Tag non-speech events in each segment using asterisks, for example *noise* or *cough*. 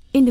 verscheen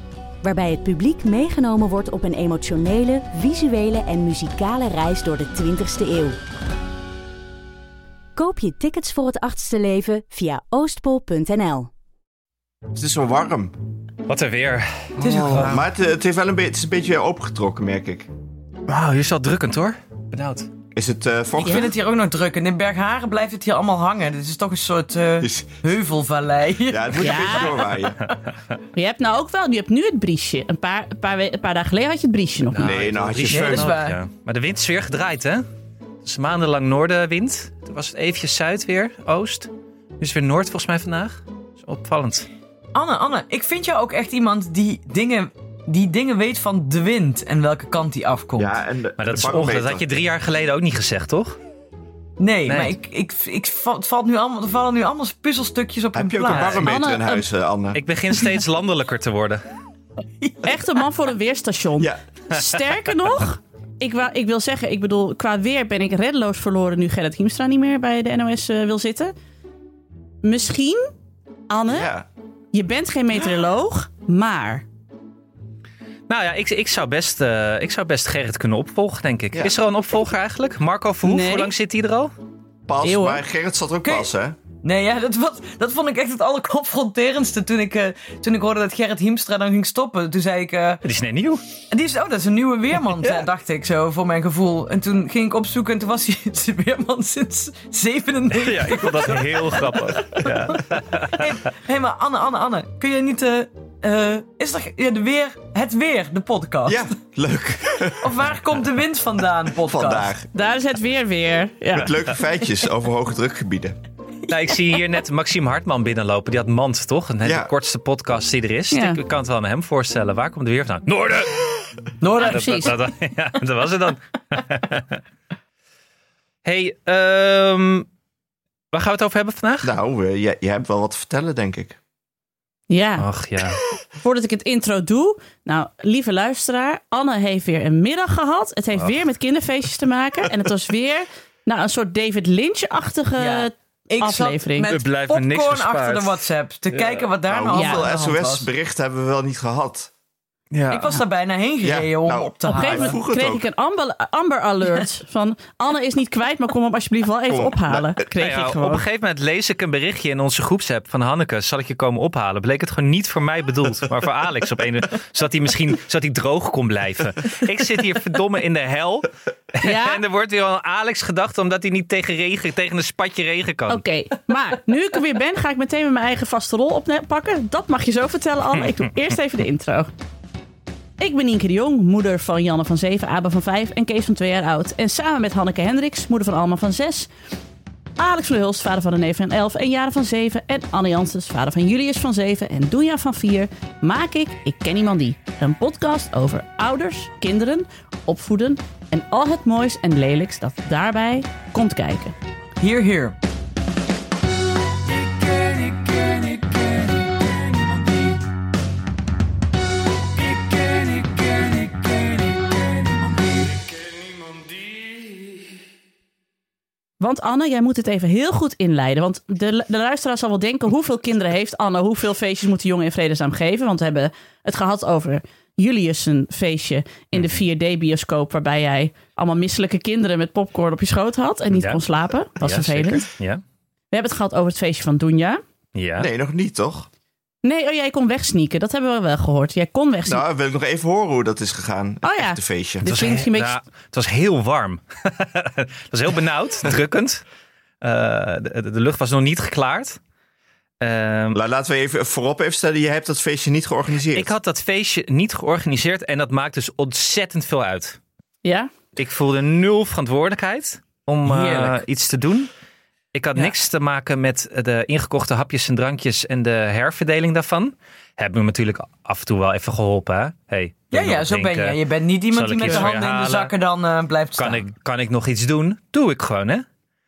Waarbij het publiek meegenomen wordt op een emotionele, visuele en muzikale reis door de 20ste eeuw. Koop je tickets voor het achtste leven via oostpol.nl. Het is zo warm. Wat een weer. Het is ook Oh. warm. Maar het, het, heeft wel een beetje, het is een beetje opengetrokken, merk ik. Wauw, hier is wel drukkend hoor. Benauwd. Is het eh Ik vochtig? vind het hier ook nog druk. En in Bergharen blijft het hier allemaal hangen. Dit is toch een soort eh, *laughs* Is- heuvelvallei. *laughs* Ja, het moet Ja. een beetje doorwaaien. Je hebt nou ook wel, je hebt nu het briesje. Een paar, een paar, we- een paar dagen geleden had je het briesje nog. niet. nee, nou had je Drie Ja, dat feun. is waar. Ja. Maar de wind is weer gedraaid, hè? Dus maandenlang noordenwind. Toen was het eventjes zuid weer, oost. Nu is het weer noord volgens mij vandaag. Dat is opvallend. Anne, Anne, ik vind jou ook echt iemand die dingen, die dingen weet van de wind en welke kant die afkomt. Ja, en de, Maar dat de is onge- barometer. Dat had je drie jaar geleden ook niet gezegd, toch? Nee. nee, maar ik, ik, ik, va- het valt nu allemaal, er vallen nu allemaal puzzelstukjes op hun Heb je ook een plaats. barometer Anne, in huis, eh, Anne? Ik begin steeds landelijker te worden. Echt een man voor een weerstation. Ja. Sterker nog, ik, wa- ik wil zeggen, ik bedoel, qua weer ben ik reddeloos verloren nu Gerrit Hiemstra niet meer bij de NOS eh, wil zitten. Misschien, Anne, Ja. je bent geen meteoroloog, maar Nou ja, ik, ik, zou best, eh, ik zou best Gerrit kunnen opvolgen, denk ik. Ja. Is er al een opvolger eigenlijk? Marco Verhoef, Nee. hoe lang zit hij er al? Pas, Nee, hoor. maar Gerrit zat er ook Kun je- pas, hè? Nee, ja, dat, was, dat vond ik echt het allerconfronterendste toen ik, eh, toen ik hoorde dat Gerrit Hiemstra dan ging stoppen. Toen zei ik, eh, Het is net nieuw. En die is, oh, dat is een nieuwe *laughs* weerman, eh, dacht ik zo, voor mijn gevoel. En toen ging ik opzoeken en toen was hij *laughs* de weerman sinds 97. Ja, ik vond dat *laughs* heel grappig. Hé, hey, maar Anne, Anne, Anne, kun je niet... eh, eh, is er ja, de weer, het weer, de podcast? Ja, leuk. Of waar komt de wind vandaan, podcast? Vandaag. daar is het weer weer. Ja. Met leuke feitjes over hoge drukgebieden. Nou, ik zie hier net Maxime Hartman binnenlopen. Die had Mand, toch? Een hele Ja. kortste podcast die er is. Ja. Ik, ik kan het wel aan hem voorstellen. Waar komt de weer vandaan? Noorden! Noorden, Dat, precies. dat- dat- ja, dat was het dan. *laughs* hey, ehm, waar gaan we het over hebben vandaag? Nou, eh, jij, jij hebt wel wat te vertellen, denk ik. ja. Ach ja. Voordat ik het intro doe. Nou, lieve luisteraar, Anne heeft weer een middag gehad. Het heeft weer met kinderfeestjes te maken. En het was weer nou, een soort David Lynch-achtige. Ja. ik aflevering. zat Het met blijft me popcorn niks bespaard. achter de WhatsApp te kijken wat daar nou, nou ja, allemaal aan de hoeveel hand was. SOS-berichten hebben we wel niet gehad? ja. Ik was daar bijna heen gereden Ja, om nou, op te Op een halen. gegeven vroeg moment het kreeg ook. ik een amber, amber alert. Van Anne is niet kwijt, maar kom hem alsjeblieft wel even Kom op. ophalen. Nou Kreeg ja, ik op een gewoon. gegeven moment lees ik een berichtje in onze groepsapp van Hanneke. Zal ik je komen ophalen? Bleek het gewoon niet voor mij bedoeld, maar voor Alex op een. Zodat hij misschien zodat hij droog kon blijven. Ik zit hier verdomme in de hel. Ja? En er wordt weer aan Alex gedacht omdat hij niet tegen, regen, tegen een spatje regen kan. Oké, maar nu ik er weer ben, ga ik meteen met mijn eigen vaste rol oppakken. Dat mag je zo vertellen, Anne. Ik doe eerst even de intro. Ik ben Nienke de Jong, moeder van Janne van 7, Abe van 5 en Kees van 2 jaar oud. En samen met Hanneke Hendricks, moeder van Alma van 6, Alex van der Hulst, vader van een neef van 11 en Jaren van 7. En Anne Janssens, vader van Julius van 7 en Doenja van 4. Maak ik Ik Ken Iemand Die. Een podcast over ouders, kinderen, opvoeden en al het moois en lelijks dat daarbij komt kijken. Hier, hier. Want Anne, jij moet het even heel goed inleiden. Want de, de luisteraar zal wel denken: hoeveel kinderen heeft Anne? Hoeveel feestjes moet de jongen in vredesnaam geven? Want we hebben het gehad over Julius' een feestje in de 4D-bioscoop. Waarbij jij allemaal misselijke kinderen met popcorn op je schoot had. En niet Ja. kon slapen. Dat was Ja, vervelend. zeker. Ja. We hebben het gehad over het feestje van Dunja. ja. Nee, nog niet, toch? Nee, oh, jij kon wegsneaken. Dat hebben we wel gehoord. Jij kon wegsneaken. Nou, wil ik nog even horen hoe dat is gegaan. Oh ja. De Dus feestje. Dit klinkt misschien een beetje. Ja, nou, het was heel warm. *laughs* het was heel benauwd, *laughs* drukkend. Eh, de, de- de lucht was nog niet geklaard. Ehm, La- Laten we even eh, voorop even stellen, je hebt dat feestje niet georganiseerd. ik had dat feestje niet georganiseerd en dat maakt dus ontzettend veel uit. Ja? Ik voelde nul verantwoordelijkheid om eh, Heerlijk. iets te doen. Ik had Ja. niks te maken met de ingekochte hapjes en drankjes en de herverdeling daarvan. Heb me natuurlijk af en toe wel even geholpen. Hè? Hey, Ja, wil je ja, nog zo ben drinken? je. Je bent niet iemand Zal die ik met iets de voor je handen in de halen? zakken dan eh, blijft staan. Kan ik, kan ik nog iets doen? Doe ik gewoon, hè?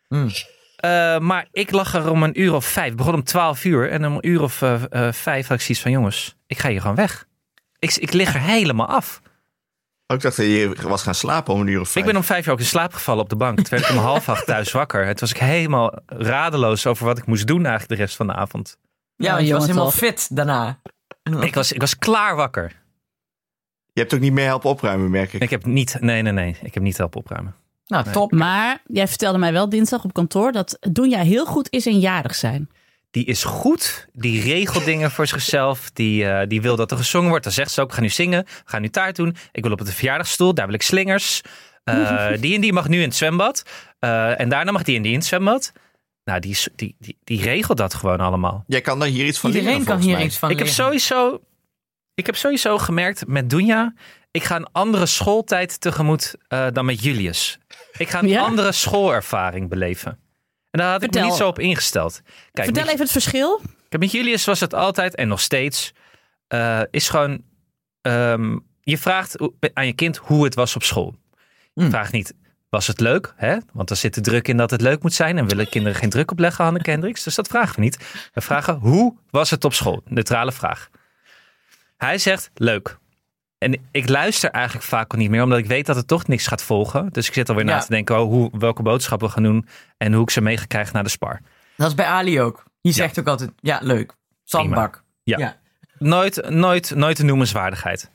Mm. Eh, maar ik lag er om een uur of vijf. Het begon om twaalf uur. En om een uur of eh, eh, vijf had ik zoiets van... jongens, ik ga hier gewoon weg. Ik, ik lig er helemaal af. Oh, ik dacht dat je was gaan slapen om een uur of vijf. Ik ben om vijf uur ook in slaap gevallen op de bank. Toen werd ik om half acht thuis wakker. Het was ik helemaal radeloos over wat ik moest doen eigenlijk de rest van de avond. Ja, Nou, want je was jongen, helemaal toch. fit daarna. Ik was, ik was klaar wakker. Je hebt ook niet meer helpen opruimen, merk ik. Ik heb niet... Nee, nee, nee. Ik heb niet helpen opruimen. Nou, top. Maar jij vertelde mij wel dinsdag op kantoor dat Doenja heel goed is in jarig zijn. Die is goed. Die regelt dingen voor zichzelf. Die, eh, die wil dat er gezongen wordt. Dan zegt ze ook, we gaan nu zingen. We gaan nu taart doen. Ik wil op de verjaardagsstoel. Daar wil ik slingers. Eh, die en die mag nu in het zwembad. Eh, en daarna mag die en die in het zwembad. Nou, die, is- die, die, die regelt dat gewoon allemaal. Jij kan daar hier iets van Iedereen leren, kan volgens hier mij. iets van Ik heb, leren. sowieso, ik heb sowieso gemerkt met Dunja... Ik ga een andere schooltijd tegemoet eh, dan met Julius. Ik ga een Ja? andere schoolervaring beleven. En daar had ik me Vertel. niet zo op ingesteld. Kijk, Vertel met- even het verschil. Kijk, met Julius was het altijd en nog steeds. eh, is gewoon. ehm, je vraagt hoe- aan je kind hoe het was op school. Je Mm. vraagt niet. Was het leuk? Hè? Want er zit de druk in dat het leuk moet zijn. En willen kinderen geen druk opleggen, Hanneke Hendricks. Dus dat vragen we niet. We vragen hoe was het op school? Neutrale vraag. Hij zegt leuk. En ik luister eigenlijk vaak al niet meer, omdat ik weet dat het toch niks gaat volgen. Dus ik zit alweer Ja. na te denken oh, hoe, welke boodschappen we gaan doen. En hoe ik ze meegekrijg naar de spar. Dat is bij Ali ook. Die zegt ook altijd, ja, leuk. Zandbak. Ja. Nooit, nooit, nooit een noemenswaardigheid.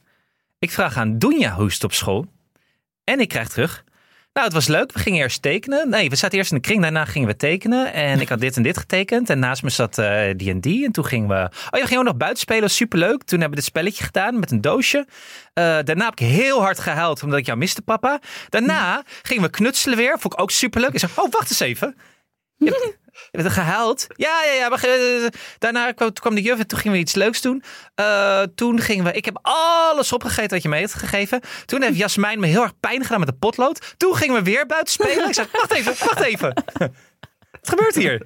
Ik vraag aan Doenja hoe is het op school? En ik krijg terug. Nou, het was leuk. We gingen eerst tekenen. Nee, we zaten eerst in de kring. Daarna gingen we tekenen. En ik had dit en dit getekend. En naast me zat eh, die en die. En toen gingen we... Oh ja, we gingen ook nog buiten spelen. Superleuk. Toen hebben we dit spelletje gedaan met een doosje. Eh, daarna heb ik heel hard gehuild omdat ik jou miste, papa. Daarna gingen we knutselen weer. Vond ik ook superleuk. Ik zeg, oh, wacht eens *laughs* even. Je hebt, je hebt gehuild. Ja, ja, ja. Maar, ge- daarna kwam, toen kwam de juf en toen gingen we iets leuks doen. Eh, toen gingen we... Ik heb alles opgegeten wat je me heeft gegeven. Toen *laughs* heeft Jasmijn me heel erg pijn gedaan met de potlood. Toen gingen we weer buiten spelen. Ik zei, wacht even, wacht even. *laughs* Wat gebeurt hier?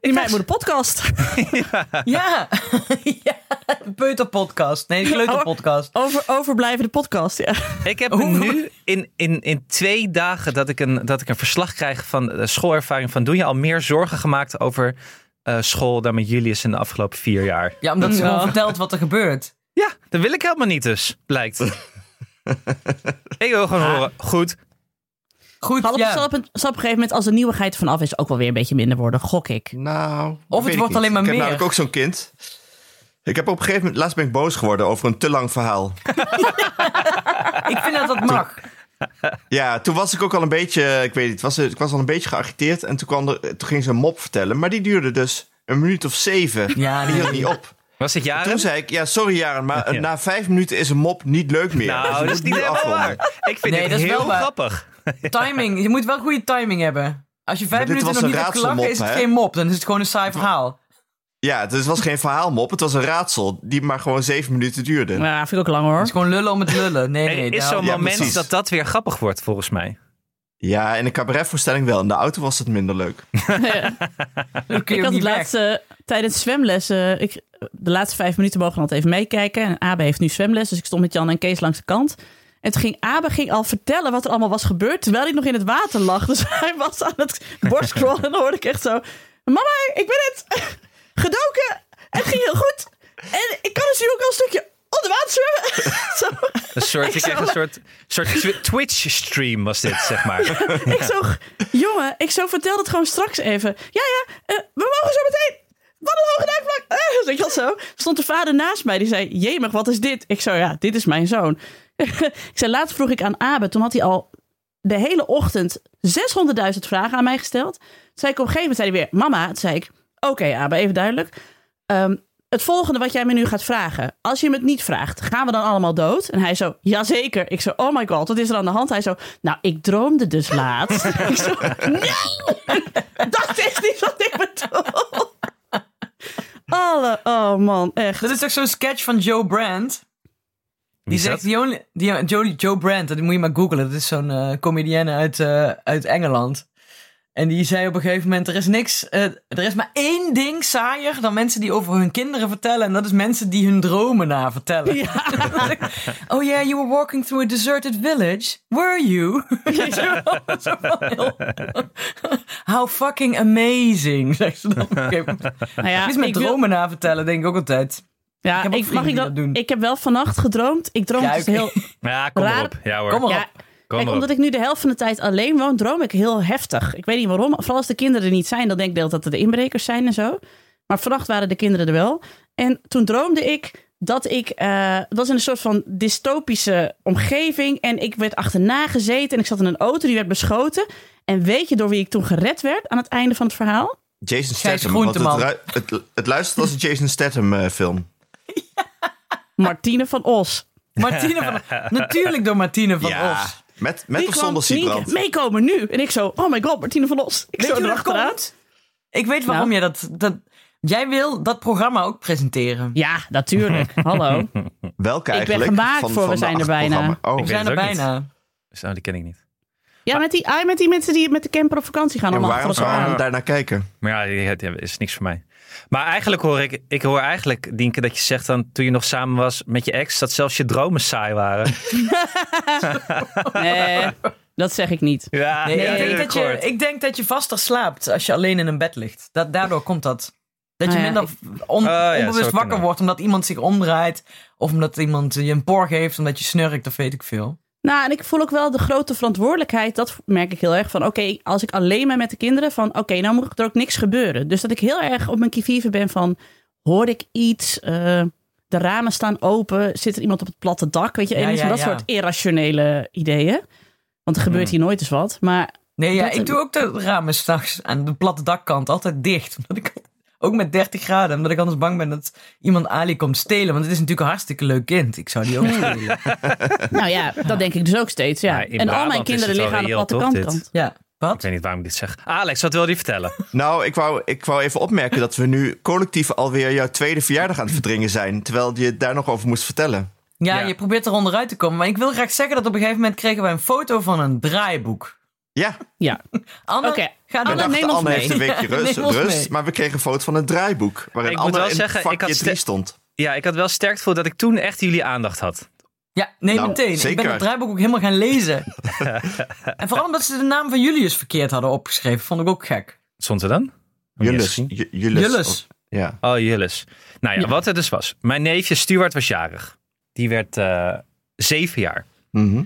Die meid moet een podcast *laughs* Ja. ja. Peuterpodcast. Nee, kleuterpodcast. over overblijvende podcast. *laughs* Ja. Ik heb nu in, in, in twee dagen dat ik, een, dat ik een verslag krijg van de schoolervaring van... Doe je al meer zorgen gemaakt over eh, school dan met Julius in de afgelopen vier jaar? Ja, omdat ze Mm. Ja. gewoon vertelt wat er gebeurt. Ja, dat wil ik helemaal niet dus, *laughs* blijkt. ik wil gewoon Ah. horen, goed, Goed, Zal op, ja. zal, op een, zal op een gegeven moment als de nieuwigheid vanaf is ook wel weer een beetje minder worden, gok ik. Nou, dat het weet ik wordt niet. alleen maar ik meer. heb namelijk ook zo'n kind. Ik heb op een gegeven moment... Laatst ben ik boos geworden over een te lang verhaal. *laughs* Ik vind dat dat mag. Ja, toen was ik ook al een beetje... Ik weet niet, was, ik was al een beetje geagiteerd. En toen, kwam er, toen ging ze een mop vertellen. Maar die duurde dus een minuut of zeven. Ja, En die nee. hield niet op. was het jaren? Toen zei ik, ja, sorry Jaren, maar eh, Ja. na vijf minuten is een mop niet leuk meer. Dus Nou, je dat moet is niet nu helemaal afronden. waar. Ik vind Nee, dit dat is wel heel waar. grappig. Timing. Je moet wel goede timing hebben. Als je vijf Maar dit minuten was nog een niet hebt gelachen, raadselmop, is het hè? geen mop. Dan is het gewoon een saai verhaal. Ja, dus het was geen verhaalmop, het was een raadsel die maar gewoon zeven minuten duurde. Nou, vind ik ook lang hoor. Het is gewoon lullen om het lullen. Nee, nee. Er is nou- zo'n ja, moment precies. dat dat weer grappig wordt, volgens mij. Ja, in een cabaretvoorstelling wel. In de auto was het minder leuk. Dan kun je Ik ook had het niet weg. laatste, tijdens zwemlessen, ik, de laatste vijf minuten mogen we altijd even meekijken. En Abe heeft nu zwemles, dus ik stond met Jan en Kees langs de kant. En toen ging Abe ging al vertellen wat er allemaal was gebeurd, terwijl ik nog in het water lag. Dus *laughs* hij was aan het borstcrawlen en dan hoorde ik echt zo... Mama, ik ben het! *laughs* Gedoken! Het ging heel goed! En ik kan dus nu ook al een stukje onder water zwemmen! *laughs* Zo, Een soort, ik zou- kreeg een soort, soort twi- Twitch-stream was dit, zeg *laughs* maar. ik zo... Jongen, ik zo vertel dat gewoon straks even. Ja, ja, eh, we mogen zo meteen... Wat een hoge duikvlak! *laughs* Eh, weet je wel zo. Stond de vader naast mij, die zei... Jemig, wat is dit? Ik zo, ja, dit is mijn zoon. *laughs* ik zei, laatst vroeg ik aan Abe. Toen had hij al de hele ochtend 600.000 vragen aan mij gesteld. Toen zei ik op een gegeven moment, zei hij weer... Mama, toen zei ik... Oké, Abe, even duidelijk. Ehm, het volgende wat jij me nu gaat vragen. Als je me het niet vraagt, gaan we dan allemaal dood? En hij zo, jazeker. Ik zo, oh my god, wat is er aan de hand? Hij zo, nou, ik droomde dus laatst. *laughs* ik zo, nee! *laughs* Dat is niet wat ik bedoel. Alle, oh man, *laughs* echt. Dat is toch zo'n sketch van Joe Brandt? Die zegt, die only, die, Joe, Joe Brandt, dat moet je maar googlen. Dat is zo'n eh comedienne uit, eh, uit Engeland. En die zei op een gegeven moment: er is niks, eh, er is maar één ding saaier dan mensen die over hun kinderen vertellen. En dat is mensen die hun dromen na vertellen. *laughs* oh yeah, you were walking through a deserted village. Were you? Weet Nou je wel? Zo van heel- How fucking amazing, *laughs* zegt ze dan op een gegeven *laughs* moment. Nou ja, Het is met ik wil- dromen na vertellen, denk ik ook altijd. Ja, Ik heb ook ik, mag vrienden ik, die dat, dat doen. Ik heb wel vannacht gedroomd. Ik droom dus Kuik. heel... Ja, kom Raar- maar op. Ja hoor. Kom maar Ja, op. Kom kijk, maar op. omdat ik nu de helft van de tijd alleen woon, droom ik heel heftig. Ik weet niet waarom. Vooral als de kinderen er niet zijn, dan denk ik de hele tijd dat er inbrekers zijn en zo. Maar vannacht waren de kinderen er wel. En toen droomde ik dat ik... eh dat was in een soort van dystopische omgeving. En ik werd achterna gezeten en ik zat in een auto die werd beschoten. En weet je door wie ik toen gered werd aan het einde van het verhaal? Jason Zij is Statham. want het, groenteman. ru- het, het luistert als een Jason Statham eh, film. Martine van Os. Martine van *laughs* Natuurlijk door Martine van ja. Os. Met, met Die of kwam zonder sneaken. Siebrand. Meekomen nu. En ik zo, oh my god, Martine van Os. Ik Weet zo je hoe dat erachteraan. komt? Ik weet waarom jij Nou. dat, dat... Jij wil dat programma ook presenteren. Ja, *laughs* natuurlijk. Hallo. Welke eigenlijk? gemaakt van, voor We van de zijn er acht bijna. programma- We Oh. weet zijn er het ook niet. bijna. Zo, die ken ik niet. Ja, met die, ah, met die mensen die met de camper op vakantie gaan. En allemaal waarom achter elkaar zouden aan. we daarnaar kijken? Maar ja, die- die- die is niks voor mij. Maar eigenlijk hoor ik, ik hoor eigenlijk, Dienke, dat je zegt dan toen je nog samen was met je ex, dat zelfs je dromen saai waren. *laughs* Ah. Nee, dat zeg ik niet. Ja, Nee, Ah, ja, ik, denk dat dat heb ik je, gehoord. ik denk dat je vaster slaapt als je alleen in een bed ligt. Dat, daardoor komt dat. Dat je Ah ja, minder on- Ah ja, zou onbewust kunnen. wakker wordt omdat iemand zich omdraait. Of omdat iemand je een por geeft omdat je snurkt of weet ik veel. Nou, en ik voel ook wel de grote verantwoordelijkheid. Dat merk ik heel erg van, oké, als ik alleen ben met de kinderen, van oké, nou moet er ook niks gebeuren. Dus dat ik heel erg op mijn kievieven ben van, hoor ik iets? Eh, de ramen staan open, zit er iemand op het platte dak? Weet je, Ja, en ja, dat ja. soort irrationele ideeën. Want er gebeurt Hmm. hier nooit eens wat. Maar Nee, ja, Dat- ik doe ook de ramen s'nachts aan de platte dakkant altijd dicht. Omdat ik, *laughs* ook met 30 graden. Omdat ik anders bang ben dat iemand Ali komt stelen. Want het is natuurlijk een hartstikke leuk kind. Ik zou die ook stelen. nou *laughs* ja, dat denk ik dus ook steeds. Ja. Maar in En al Brabant mijn is kinderen het wel liggen aan de reëel, platte toch, kant. dit? kant. Ja, wat? Ik weet niet waarom ik dit zeg. Alex, wat wilde je *laughs* vertellen? Nou, ik wou, ik wou even opmerken dat we nu collectief alweer jouw tweede verjaardag aan het verdringen zijn. Terwijl je het daar nog over moest vertellen. Ja, Ja. je probeert er onderuit te komen. Maar ik wil graag zeggen dat op een gegeven moment kregen wij een foto van een draaiboek. Ja, Ja, Anne, Oké, ga Anne, we door. neem dachten ons Anne mee. heeft een weekje Ja, rust, neem ons rust mee. maar we kregen een foto van het draaiboek. Waarin Ik moet Anne wel in zeggen, ik vakje had ste- 3 stond. Ja, ik had wel sterk het gevoel dat ik toen echt jullie aandacht had. Ja, nee, Nou, meteen. Ik zeker. ben het draaiboek ook helemaal gaan lezen. en vooral omdat ze de naam van Julius verkeerd hadden opgeschreven, vond ik ook gek. Wat Stond er dan? Heb je eens Julles. gezien? Ju- Julius. Ja. Oh, Julles. Nou ja, wat het dus was. Mijn neefje Stuart was jarig. Die werd eh, zeven jaar. Mhm.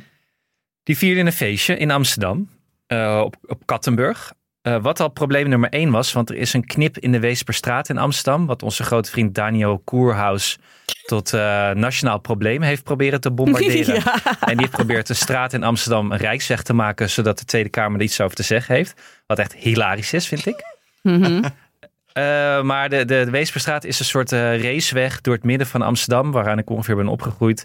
Die vierde een feestje in Amsterdam, eh, op, op Kattenburg. Eh, wat al probleem nummer één was, want er is een knip in de Weesperstraat in Amsterdam, wat onze grote vriend Daniel Koerhaus tot eh, nationaal probleem heeft proberen te bombarderen. Ja. En die probeert de straat in Amsterdam een rijksweg te maken, zodat de Tweede Kamer er iets over te zeggen heeft. Wat echt hilarisch is, vind ik. *laughs* Eh, maar de, de, de Weesperstraat is een soort eh, raceweg door het midden van Amsterdam, waaraan ik ongeveer ben opgegroeid.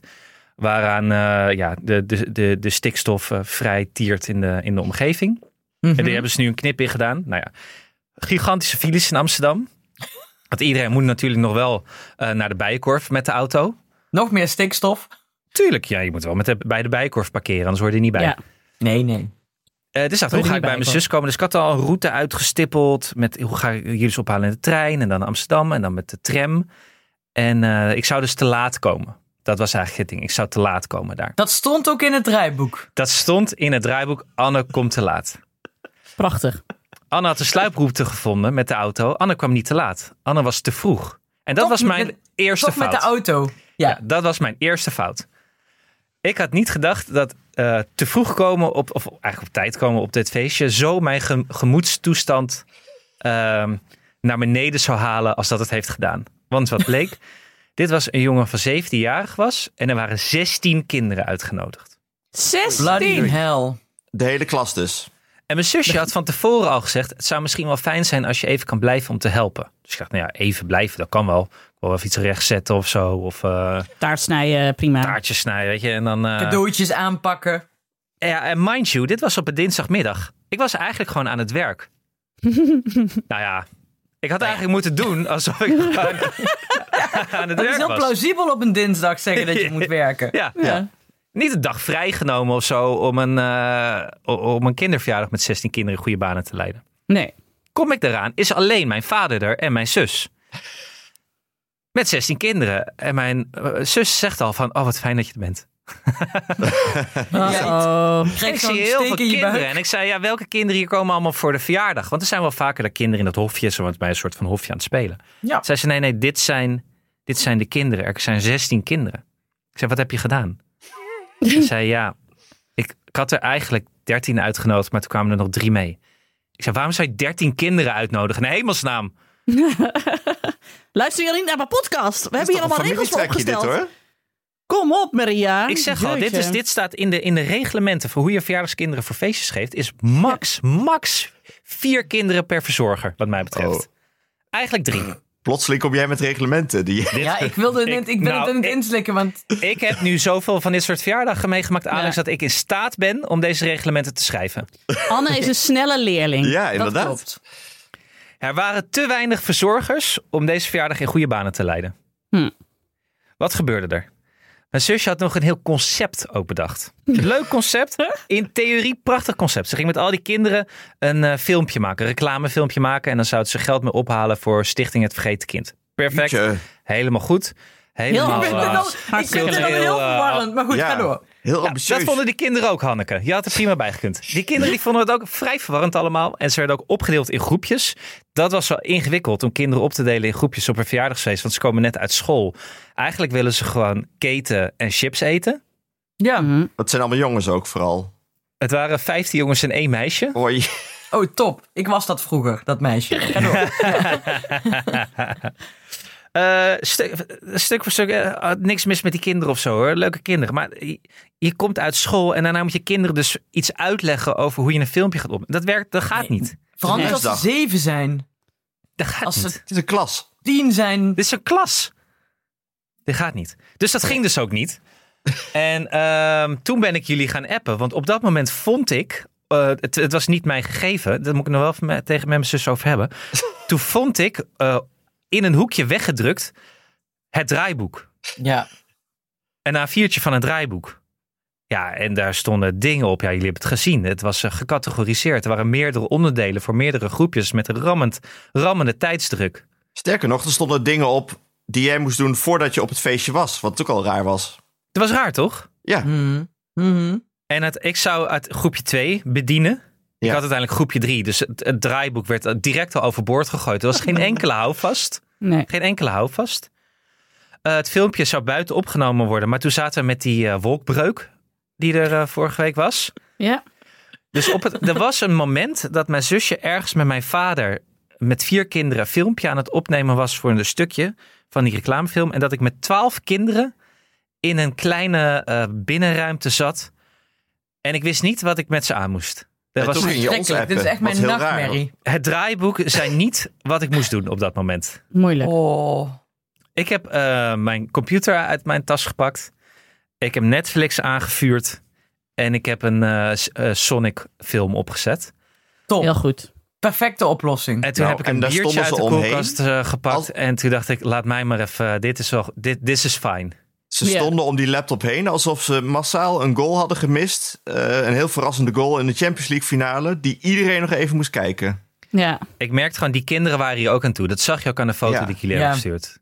Waaraan eh, ja, de, de, de, de stikstof eh, vrij tiert in de, in de omgeving. En daar hebben ze nu een knip in gedaan. Nou ja, gigantische files in Amsterdam. Want iedereen moet natuurlijk nog wel eh, naar de Bijenkorf met de auto. Nog meer stikstof? Tuurlijk, ja, je moet wel met de, bij de Bijenkorf parkeren, anders hoor je er niet bij. Ja. Nee, nee. Eh, dus dacht, ik, hoe ga ik bij mijn zus komen? Dus ik had al een route uitgestippeld. Met hoe ga ik jullie ophalen in de trein en dan naar Amsterdam en dan met de tram. En eh, ik zou dus te laat komen. Dat was eigenlijk het ding. Ik zou te laat komen daar. Dat stond ook in het draaiboek. Dat stond in het draaiboek Anne komt te laat. prachtig. Anne had de sluiproute gevonden met de auto. Anne kwam niet te laat. Anne was te vroeg. En dat Toch was mijn met- eerste Toch fout. met de auto. Ja. Ja, dat was mijn eerste fout. Ik had niet gedacht dat eh, te vroeg komen, op, of eigenlijk op tijd komen op dit feestje, zo mijn ge- gemoedstoestand ehm, naar beneden zou halen als dat het heeft gedaan. Want wat *laughs* bleek, dit was een jongen van 17 jarig was en er waren 16 kinderen uitgenodigd. Bloody 16. hell. De hele klas dus. En mijn zusje had van tevoren al gezegd, het zou misschien wel fijn zijn als je even kan blijven om te helpen. Dus ik dacht, nou ja, even blijven, dat kan wel. Ik wil wel even iets rechtzetten of zo, of eh Taart snijden, prima. taartjes snijden, weet je. En dan, eh, Cadeautjes aanpakken. Ja, en mind you, dit was op een dinsdagmiddag. Ik was eigenlijk gewoon aan het *laughs* werk. nou ja, ik had eigenlijk moeten doen alsof *laughs* ik gewoon aan het Dat is werk heel was. plausibel op een dinsdag zeggen dat je moet werken. Ja, Ja. niet een dag vrijgenomen of zo om een, eh, o- om een kinderverjaardag met 16 kinderen in goede banen te leiden. Nee. Kom ik eraan, is alleen mijn vader er en mijn zus. Met 16 kinderen. En mijn eh, zus zegt al van, oh wat fijn dat je er bent. Oh. Krijg En ik zie heel veel kinderen. En ik zei, ja, welke kinderen hier komen allemaal voor de verjaardag? Want er zijn wel vaker de kinderen in dat hofje, zo want bij een soort van hofje aan het spelen. Ja. Zei ze, nee, nee, dit zijn, dit zijn de kinderen. Er zijn 16 kinderen. Ik zei, wat heb je gedaan? Ze zei, ja, ik, ik had er eigenlijk 13 uitgenodigd, maar toen kwamen er nog drie mee. Ik zei, waarom zou je 13 kinderen uitnodigen? In hemelsnaam. Luister jullie niet naar mijn podcast? We Dat hebben is hier toch een allemaal regels voor familietrajectje opgesteld. dit hoor. Kom op, Maria. Ik zeg al, dit, Jeetje. is, dit staat in de, in de reglementen voor hoe je verjaardagskinderen voor feestjes geeft. Is max, max vier kinderen per verzorger, wat mij betreft. Oh. Eigenlijk drie. Plotseling kom jij met reglementen. Die, Ja, ik wilde net, ik ben nou, het aan het ik- inslikken, want Ik heb nu zoveel van dit soort verjaardagen meegemaakt, Alex, dat ik in staat ben om deze reglementen te schrijven. Anne is een snelle leerling. ja, dat inderdaad. klopt. Er waren te weinig verzorgers om deze verjaardag in goede banen te leiden. Hm. Wat gebeurde er? Mijn zusje had nog een heel concept ook bedacht. Leuk concept. In theorie prachtig concept. Ze ging met al die kinderen een eh, filmpje maken, een reclamefilmpje maken. En dan zouden ze geld mee ophalen voor Stichting Het Vergeten Kind. Perfect. Jeetje. Helemaal goed. Helemaal, Ik Ik vind vind eh, het wel- het hartstikke heel, heel, eh, verwarrend, maar goed, ja, ga door. Heel Ja, ambitieus. dat vonden die kinderen ook, Hanneke. Je had er prima bij gekund. Die kinderen die vonden het ook vrij verwarrend allemaal. En ze werden ook opgedeeld in groepjes. Dat was wel ingewikkeld om kinderen op te delen in groepjes op een verjaardagsfeest. Want ze komen net uit school. Eigenlijk willen ze gewoon keten en chips eten. Ja. Mhm. Dat zijn allemaal jongens ook vooral. Het waren 15 jongens en één meisje. Oei. Oh, top. Ik was dat vroeger, dat meisje. *laughs* Ga door. Eh, stuk, stuk voor stuk, eh, had niks mis met die kinderen of zo hoor. Leuke kinderen. Maar je, je komt uit school en daarna moet je kinderen dus iets uitleggen over hoe je een filmpje gaat op. Dat werkt, dat gaat Nee. niet. Vooral niet als ze Dinsdag. zeven zijn. Dat gaat Als niet. ze Het is een klas. tien zijn. Dit is een klas. Dit gaat niet. Dus dat ging dus ook niet. En ehm, toen ben ik jullie gaan appen. Want op dat moment vond ik. eh, het, het was niet mijn gegeven. Daar moet ik nog wel even me- tegen met mijn zus over hebben. Toen vond ik eh, in een hoekje weggedrukt het draaiboek. Ja. Een A4'tje van het draaiboek. Ja, en daar stonden dingen op. Ja, jullie hebben het gezien. Het was eh, gecategoriseerd. Er waren meerdere onderdelen voor meerdere groepjes met een rammend, rammende tijdsdruk. Sterker nog, er stonden dingen op die jij moest doen voordat je op het feestje was. Wat ook al raar was. Het was raar, toch? Ja, Mhm. Mhm. En het, ik zou uit groepje 2 bedienen. Ik Ja. had uiteindelijk groepje 3. Dus het, het draaiboek werd eh, direct al overboord gegooid. Er was geen enkele houvast. Nee. Geen enkele houvast. Eh, het filmpje zou buiten opgenomen worden. Maar toen zaten we met die eh, wolkbreuk die er eh, vorige week was. Ja. Dus op het, er was een moment dat mijn zusje ergens met mijn vader met vier kinderen een filmpje aan het opnemen was voor een stukje van die reclamefilm. En dat ik met twaalf kinderen in een kleine eh, binnenruimte zat. En ik wist niet wat ik met ze aan moest. Er En was, toen ging je ons Schrikkelijk. Dit is appen, echt wat mijn heel raar nachtmerrie. het draaiboek zei niet wat ik moest doen op dat moment. Moeilijk. Oh. Ik heb eh, mijn computer uit mijn tas gepakt. Ik heb Netflix aangevuurd. En ik heb een eh, s- eh, Sonic film opgezet. Heel Top. goed. Perfecte oplossing. En toen Nou, heb ik en een daar biertje stonden uit ze de omheen. koelkast eh, gepakt. Als- En toen dacht ik, laat mij maar even. eh, Dit is wel. Dit this is fine. Ze Ja. stonden om die laptop heen alsof ze massaal een goal hadden gemist. Eh, een heel verrassende goal in de Champions League finale. Die iedereen nog even moest kijken. Ja. Ik merkte gewoon, die kinderen waren hier ook aan toe. Dat zag je ook aan de foto Ja. die ik jullie heb Ja. gestuurd.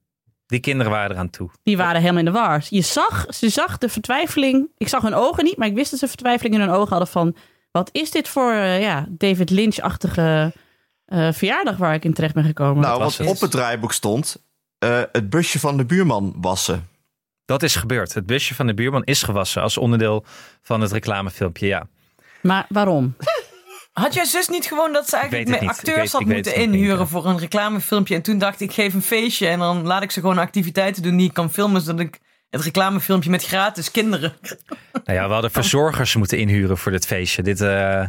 Die kinderen waren er aan toe. Die waren helemaal in de war. Je zag, ze zag de vertwijfeling. Ik zag hun ogen niet, maar ik wist dat ze vertwijfeling in hun ogen hadden van... Wat is dit voor eh, ja, David Lynch-achtige eh, verjaardag waar ik in terecht ben gekomen? nou, was wat het? op het draaiboek stond. eh, het busje van de buurman wassen. Dat is gebeurd. Het busje van de buurman is gewassen als onderdeel van het reclamefilmpje. Ja. Maar waarom? Had jouw zus niet gewoon dat ze eigenlijk weet het met niet. Ik acteurs weet- had ik weet moeten het niet, inhuren Inke. voor een reclamefilmpje? En toen dacht ik, ik geef een feestje en dan laat ik ze gewoon activiteiten doen die ik kan filmen, zodat ik het reclamefilmpje met gratis kinderen... Nou ja, we hadden verzorgers moeten inhuren voor dit feestje. Dit, eh,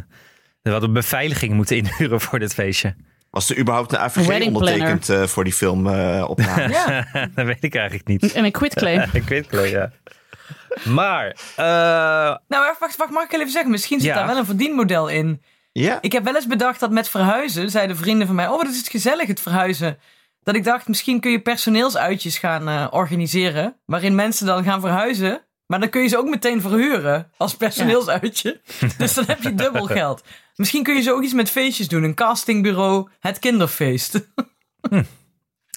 we hadden beveiliging moeten inhuren voor dit feestje. *laughs* Was er überhaupt een AVG Wedding planner. ondertekend eh, voor die film eh, opname? *laughs* Ja, dat weet ik eigenlijk niet. En een *laughs* quitclaim. ik weet het wel, ja. Maar, eh, *laughs* nou wacht, wacht, wacht, mag ik heel even zeggen? Misschien zit Ja. daar wel een verdienmodel in. ja. Ik heb wel eens bedacht dat met verhuizen, zeiden vrienden van mij, oh, dat is gezellig het verhuizen. Dat ik dacht, misschien kun je personeelsuitjes gaan eh, organiseren, waarin mensen dan gaan verhuizen Maar dan kun je ze ook meteen verhuren als *laughs* personeelsuitje. Dus dan heb je dubbel geld. Misschien kun je zo ook iets met feestjes doen. Een castingbureau, het kinderfeest. *laughs*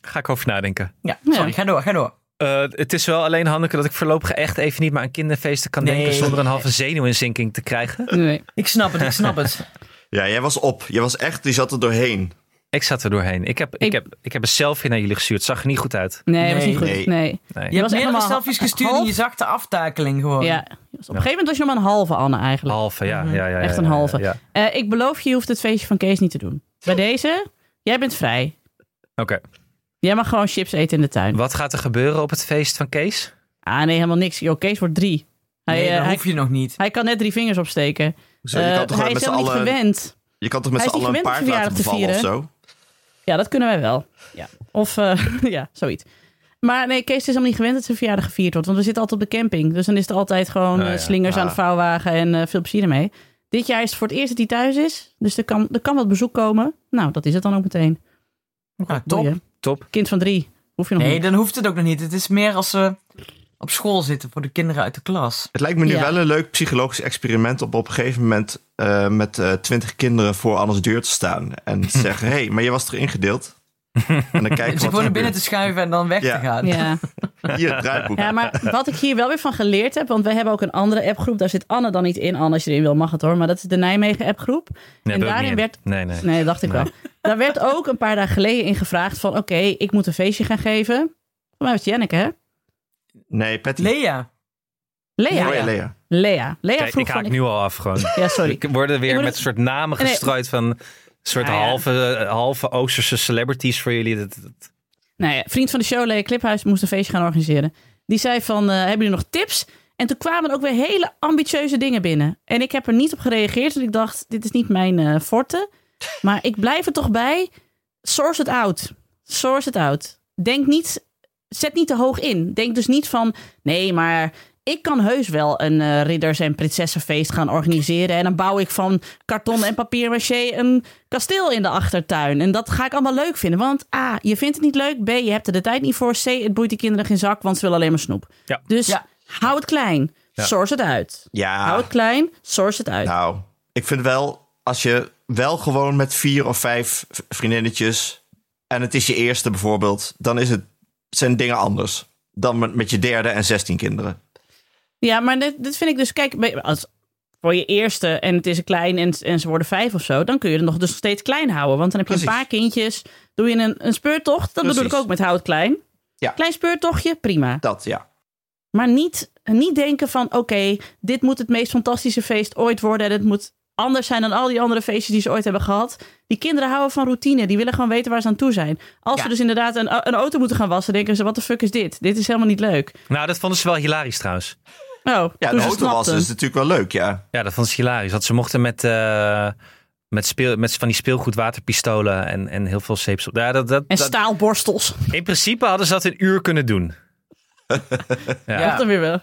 Ga ik over nadenken. Ja, Ja. sorry, ga door, ga door. Eh, het is wel alleen, Hanneke, dat ik voorlopig echt even niet meer aan kinderfeesten kan Nee. denken zonder een halve zenuwinzinking te krijgen. Nee. Ik snap *laughs* het, ik snap het. Ja, jij was op. Jij was echt, die zat er doorheen. Ik zat er doorheen. Ik heb, ik, Ik- heb, ik heb een selfie naar jullie gestuurd. Zag er niet goed uit. Nee, was niet goed. Nee. Nee. Nee. Je was hebt echt meerdere helemaal selfies gestuurd en half- je zag de aftakeling gewoon. Ja. je was- Op een gegeven moment was je nog maar een halve Anne eigenlijk. Halve, ja. ja, ja, ja, Mhm. Echt een ja, ja, halve. ja. Eh, ik beloof je, je hoeft het feestje van Kees niet te doen. Bij deze, jij bent vrij. Oké. Jij mag gewoon chips eten in de tuin. Wat gaat er gebeuren op het feest van Kees? Ah nee, helemaal niks. Yo, Kees wordt drie. Hij, Nee, eh, dat hij, hoef je nog niet. hij kan net drie vingers opsteken. Zo, je, Eh, kan toch wel hij is met z'n helemaal niet allen, gewend. je kan toch met Hij z'n is niet allen een gewend paard om laten verjaardag te bevallen of vieren. zo? Ja, dat kunnen wij wel. Ja. Of eh, *laughs* ja, zoiets. Maar nee, Kees is helemaal niet gewend dat zijn verjaardag gevierd wordt. Want we zitten altijd op de camping. Dus dan is er altijd gewoon Nou eh, ja, slingers aan ah. de vouwwagen en eh, veel plezier ermee. Dit jaar is het voor het eerst dat hij thuis is. Dus er kan, er kan wat bezoek komen. Nou, dat is het dan ook meteen. Oh, Nou, top. Boeien. Top. Kind van drie. Hoef je nog Nee, niet. dan hoeft het ook nog niet. Het is meer als ze op school zitten voor de kinderen uit de klas. Het lijkt me nu Ja. wel een leuk psychologisch experiment om op een gegeven moment eh, met twintig kinderen voor Anne's deur te staan. En te zeggen, hé, hey, maar je was er ingedeeld. En dan kijken Om wat ze er gewoon Dus naar binnen gebeurt. te schuiven en dan weg Ja. te gaan. Ja. Hier, het draaiboek. ja, maar wat ik hier wel weer van geleerd heb. Want wij hebben ook een andere appgroep. Daar zit Anne dan niet in. Anne, als je erin wil, mag het hoor. Maar dat is de Nijmegen appgroep. Nee, en ben ik daarin niet in. werd Nee, nee. Nee, dat dacht ik Nee. wel. *laughs* Daar werd ook een paar dagen geleden in gevraagd van... oké, ik moet een feestje gaan geven. Voor mij was het Janneke, hè? Nee, Patty. Lea. Lea. Oh Lea. ja, Lea, Lea. Kijk, vroeg ik haak van... nu al af gewoon. Ja, *laughs* sorry. Ik worden Ik weer moet met het- soort namen Nee. gestrooid van soort Ah, ja. halve, halve Oosterse celebrities voor jullie. Dat, dat- Nou ja, vriend van de show, Lea Kliphuis, moest een feestje gaan organiseren. Die zei van, eh, hebben jullie nog tips? En toen kwamen er ook weer hele ambitieuze dingen binnen. En ik heb er niet op gereageerd. En ik dacht, dit is niet mijn eh, forte. Maar ik blijf er toch bij. Source het out. Source het out. Denk niet, zet niet te hoog in. Denk dus niet van, nee, maar ik kan heus wel een eh, ridders- en prinsessenfeest gaan organiseren. En dan bouw ik van karton en papier maché een kasteel in de achtertuin. En dat ga ik allemaal leuk vinden. Want A, je vindt het niet leuk. B, je hebt er de tijd niet voor. C, het boeit die kinderen geen zak, want ze willen alleen maar snoep. Ja. Dus Ja. hou het klein. Ja. Ah. Source het uit. Hou Ja, het klein, source het uit. nou, ik vind wel, als je wel gewoon met vier of vijf v- vriendinnetjes, en het is je eerste bijvoorbeeld, dan is het, zijn dingen anders dan met, met je derde en zestien kinderen. Ja, maar dit, dit vind ik dus, kijk, bij- als voor je eerste en het is een klein en, en ze worden vijf of zo, dan kun je het nog dus nog steeds klein houden. Want dan heb je een Precies. paar kindjes, doe je een, een speurtocht, dat bedoel ik Precies. ook met hout klein. Ja. Klein speurtochtje, prima. Dat, ja. Maar niet, niet denken van, oké, dit moet het meest fantastische feest ooit worden en het moet anders zijn dan al die andere feestjes die ze ooit hebben gehad. Die kinderen houden van routine, die willen gewoon weten waar ze aan toe zijn. Als Ja. ze dus inderdaad een, een auto moeten gaan wassen, denken ze, wat de fuck is dit? Dit is helemaal niet leuk. nou, dat vonden ze wel hilarisch trouwens. Oh, Ja, toen de ze auto was snapten. dus natuurlijk wel leuk, ja. Ja, dat vonden ze hilarisch. Want ze mochten met, eh, met, speel, met van die speelgoedwaterpistolen en, en heel veel zeepsel. Ja, dat, dat, En dat- staalborstels. in principe hadden ze dat een uur kunnen doen. ja. Ja. Dat dan weer wel.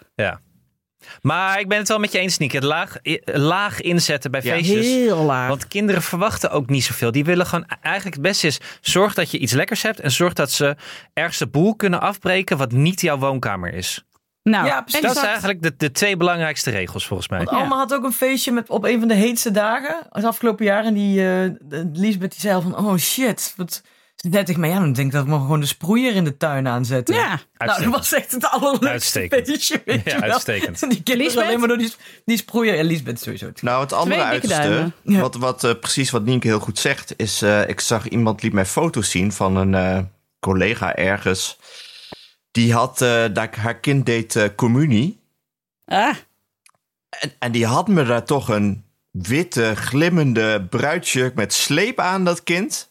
Maar ik ben het wel met je eens, Nick. Het laag, i- laag inzetten bij Ja. feestjes. laag. Want kinderen verwachten ook niet zoveel. Die willen gewoon eigenlijk het beste is: zorg dat je iets lekkers hebt en zorg dat ze ergens de boel kunnen afbreken wat niet jouw woonkamer is. nou, Ja, precies. Dat exact. zijn eigenlijk de, de twee belangrijkste regels volgens mij. Want Alma had ook een feestje met, op een van de heetste dagen het afgelopen jaar. En die, eh Lisbeth die zei al van, oh shit, wat zet ik mij aan? Dan denk ik dat we maar gewoon de sproeier in de tuin aanzetten. Ja. Nou, *laughs* dat Uitstekend. was echt het allerleukste Uitstekend. feestje, weet Ja, je wel. uitstekend. *laughs* Die kinderen Lisbeth? alleen maar door die, die sproeier. En Lisbeth sowieso. Nou, het andere dikke uiterste, duimen. Ja. wat, wat eh, precies wat Nienke heel goed zegt, is eh, ik zag iemand liet mij foto's zien van een eh, collega ergens. Die had, eh, dat, haar kind deed eh, communie. Ah, En, en die had me daar toch een witte, glimmende bruidsjurk met sleep aan, dat kind. *laughs*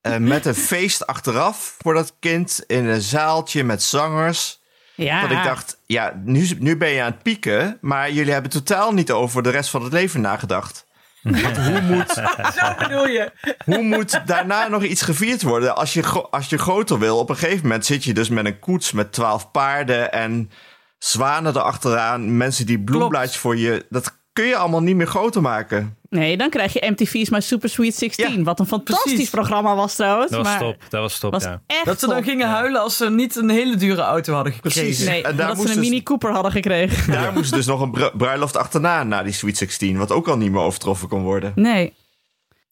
Eh, met een feest achteraf voor dat kind in een zaaltje met zangers. ja. Dat ik dacht, ja, nu, nu ben je aan het pieken, maar jullie hebben totaal niet over de rest van het leven nagedacht. Want hoe, moet, Zo bedoel je. hoe moet daarna nog iets gevierd worden? Als je, gro- als je groter wil, op een gegeven moment zit je dus met een koets met twaalf paarden en zwanen erachteraan, mensen die bloemblaadjes voor je. Dat kun je allemaal niet meer groter maken. Nee, dan krijg je MTV's My Super Sweet 16. Ja, Wat een fantastisch precies. programma was trouwens. Dat was maar top. Dat was top, was ja. echt Dat ze dan top. gingen huilen als ze niet een hele dure auto hadden gekregen. Precies. En Nee, daar omdat ze een moesten ze- Mini Cooper hadden gekregen. *laughs* Daar moest dus nog een bru- bruiloft achterna na die Sweet 16, wat ook al niet meer overtroffen kon worden. Nee.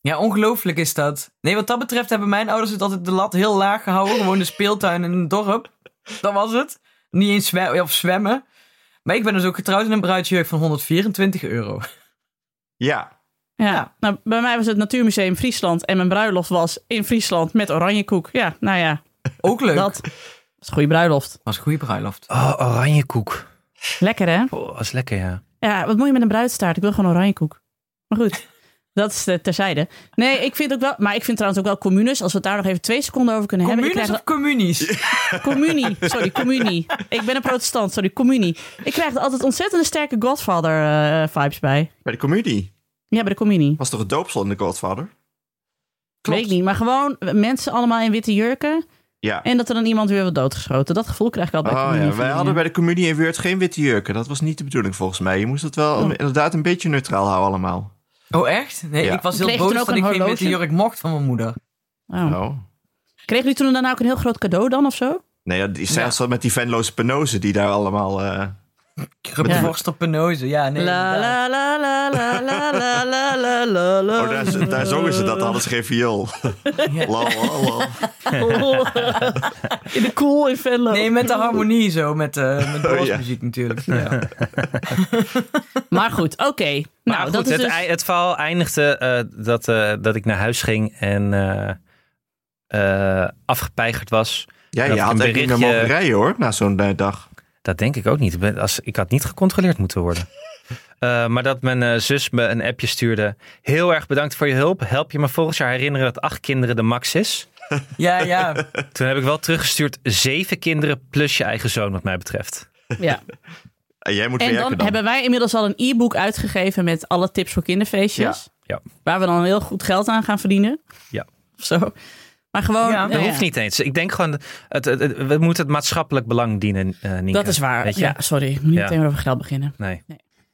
Ja, ongelooflijk is dat. Nee, wat dat betreft hebben mijn ouders het altijd de lat heel laag gehouden. Gewoon de speeltuin in het dorp. Dat was het. Niet eens zwem of zwemmen. Maar ik ben dus ook getrouwd in een bruidsjurk van 124 euro. Ja, Ja. Nou, bij mij was het Natuurmuseum Friesland en mijn bruiloft was in Friesland met oranjekoek. Ja, nou ja, Ook leuk. dat is een goede bruiloft. was een goede bruiloft. Oh, oranje koek. Lekker hè? Oh, dat is lekker, Nou, ja. Ja, wat moet je met een bruidstaart? Ik wil gewoon oranjekoek. Maar goed, *laughs* dat is eh, terzijde. Nee, ik vind ook wel, maar ik vind trouwens ook wel communes, als we het daar nog even twee seconden over kunnen hebben. Ik Communes krijg of communies? Communie, sorry, communie. Ik ben een protestant, sorry, communie. Ik krijg er altijd ontzettende sterke Godfather-vibes bij. bij de communie. Ja, bij de communie. Was toch een doopsel in de Godfather? Weet ik niet, maar gewoon mensen allemaal in witte jurken. Ja. En dat er dan iemand weer wordt doodgeschoten. Dat gevoel krijg ik al bij Oh communie. ja, wij hadden bij de communie in Weert geen witte jurken. Dat was niet de bedoeling volgens mij. Je moest het wel Oh. inderdaad een beetje neutraal houden allemaal. Oh, echt? Nee, Ja. ik was Kreeg heel je boos toen ook dat ik een geen witte horloge? jurk mocht van mijn moeder. Oh. Oh. Kregen jullie toen dan ook een heel groot cadeau dan of zo? Nee, ja, die zelfs wel met die venloze penozen die daar allemaal... eh, Kruppenworst op penose, ja, nee. la, inderdaad. la, la, la, la, la, la, la, la, la, la. Oh, daar, z- daar zongen ze dat, hadden ze geen viool. Lol, lol, lol. *laughs* Oh. In de cool in Venlo. Nee, met de harmonie zo, met, *laughs* eh met Oh, ja. dansmuziek natuurlijk. Ja. *laughs* Maar goed, oké. Maar Nou, goed, dat is het, dus... ei- het verhaal eindigde eh, dat, eh, dat ik naar huis ging en eh, eh, afgepeigerd was. Ja, Dat je ik een had echt niet meer berichtje- mogen rijden hoor, na zo'n eh, dag. Dat denk ik ook niet. Ik ben- Als, ik had niet gecontroleerd moeten worden. *laughs* Eh, maar dat mijn eh, zus me een appje stuurde. Heel erg bedankt voor je hulp. Help je me volgend jaar herinneren dat acht kinderen de max is? ja, ja. Toen heb ik wel teruggestuurd zeven kinderen plus je eigen zoon wat mij betreft. Ja. En Eh, jij moet En werken dan, dan. hebben wij inmiddels al een e-book uitgegeven met alle tips voor kinderfeestjes. Ja. Ja. Waar we dan heel goed geld aan gaan verdienen. Ja. Of zo. Maar gewoon... Ja, nou Dat hoeft niet eens. Ik denk gewoon, het, het- het- we moeten het maatschappelijk belang dienen, eh Nienke. Dat is waar. Weet je? Ja, sorry. Ik moet niet Ja. meteen weer over geld beginnen. Nee.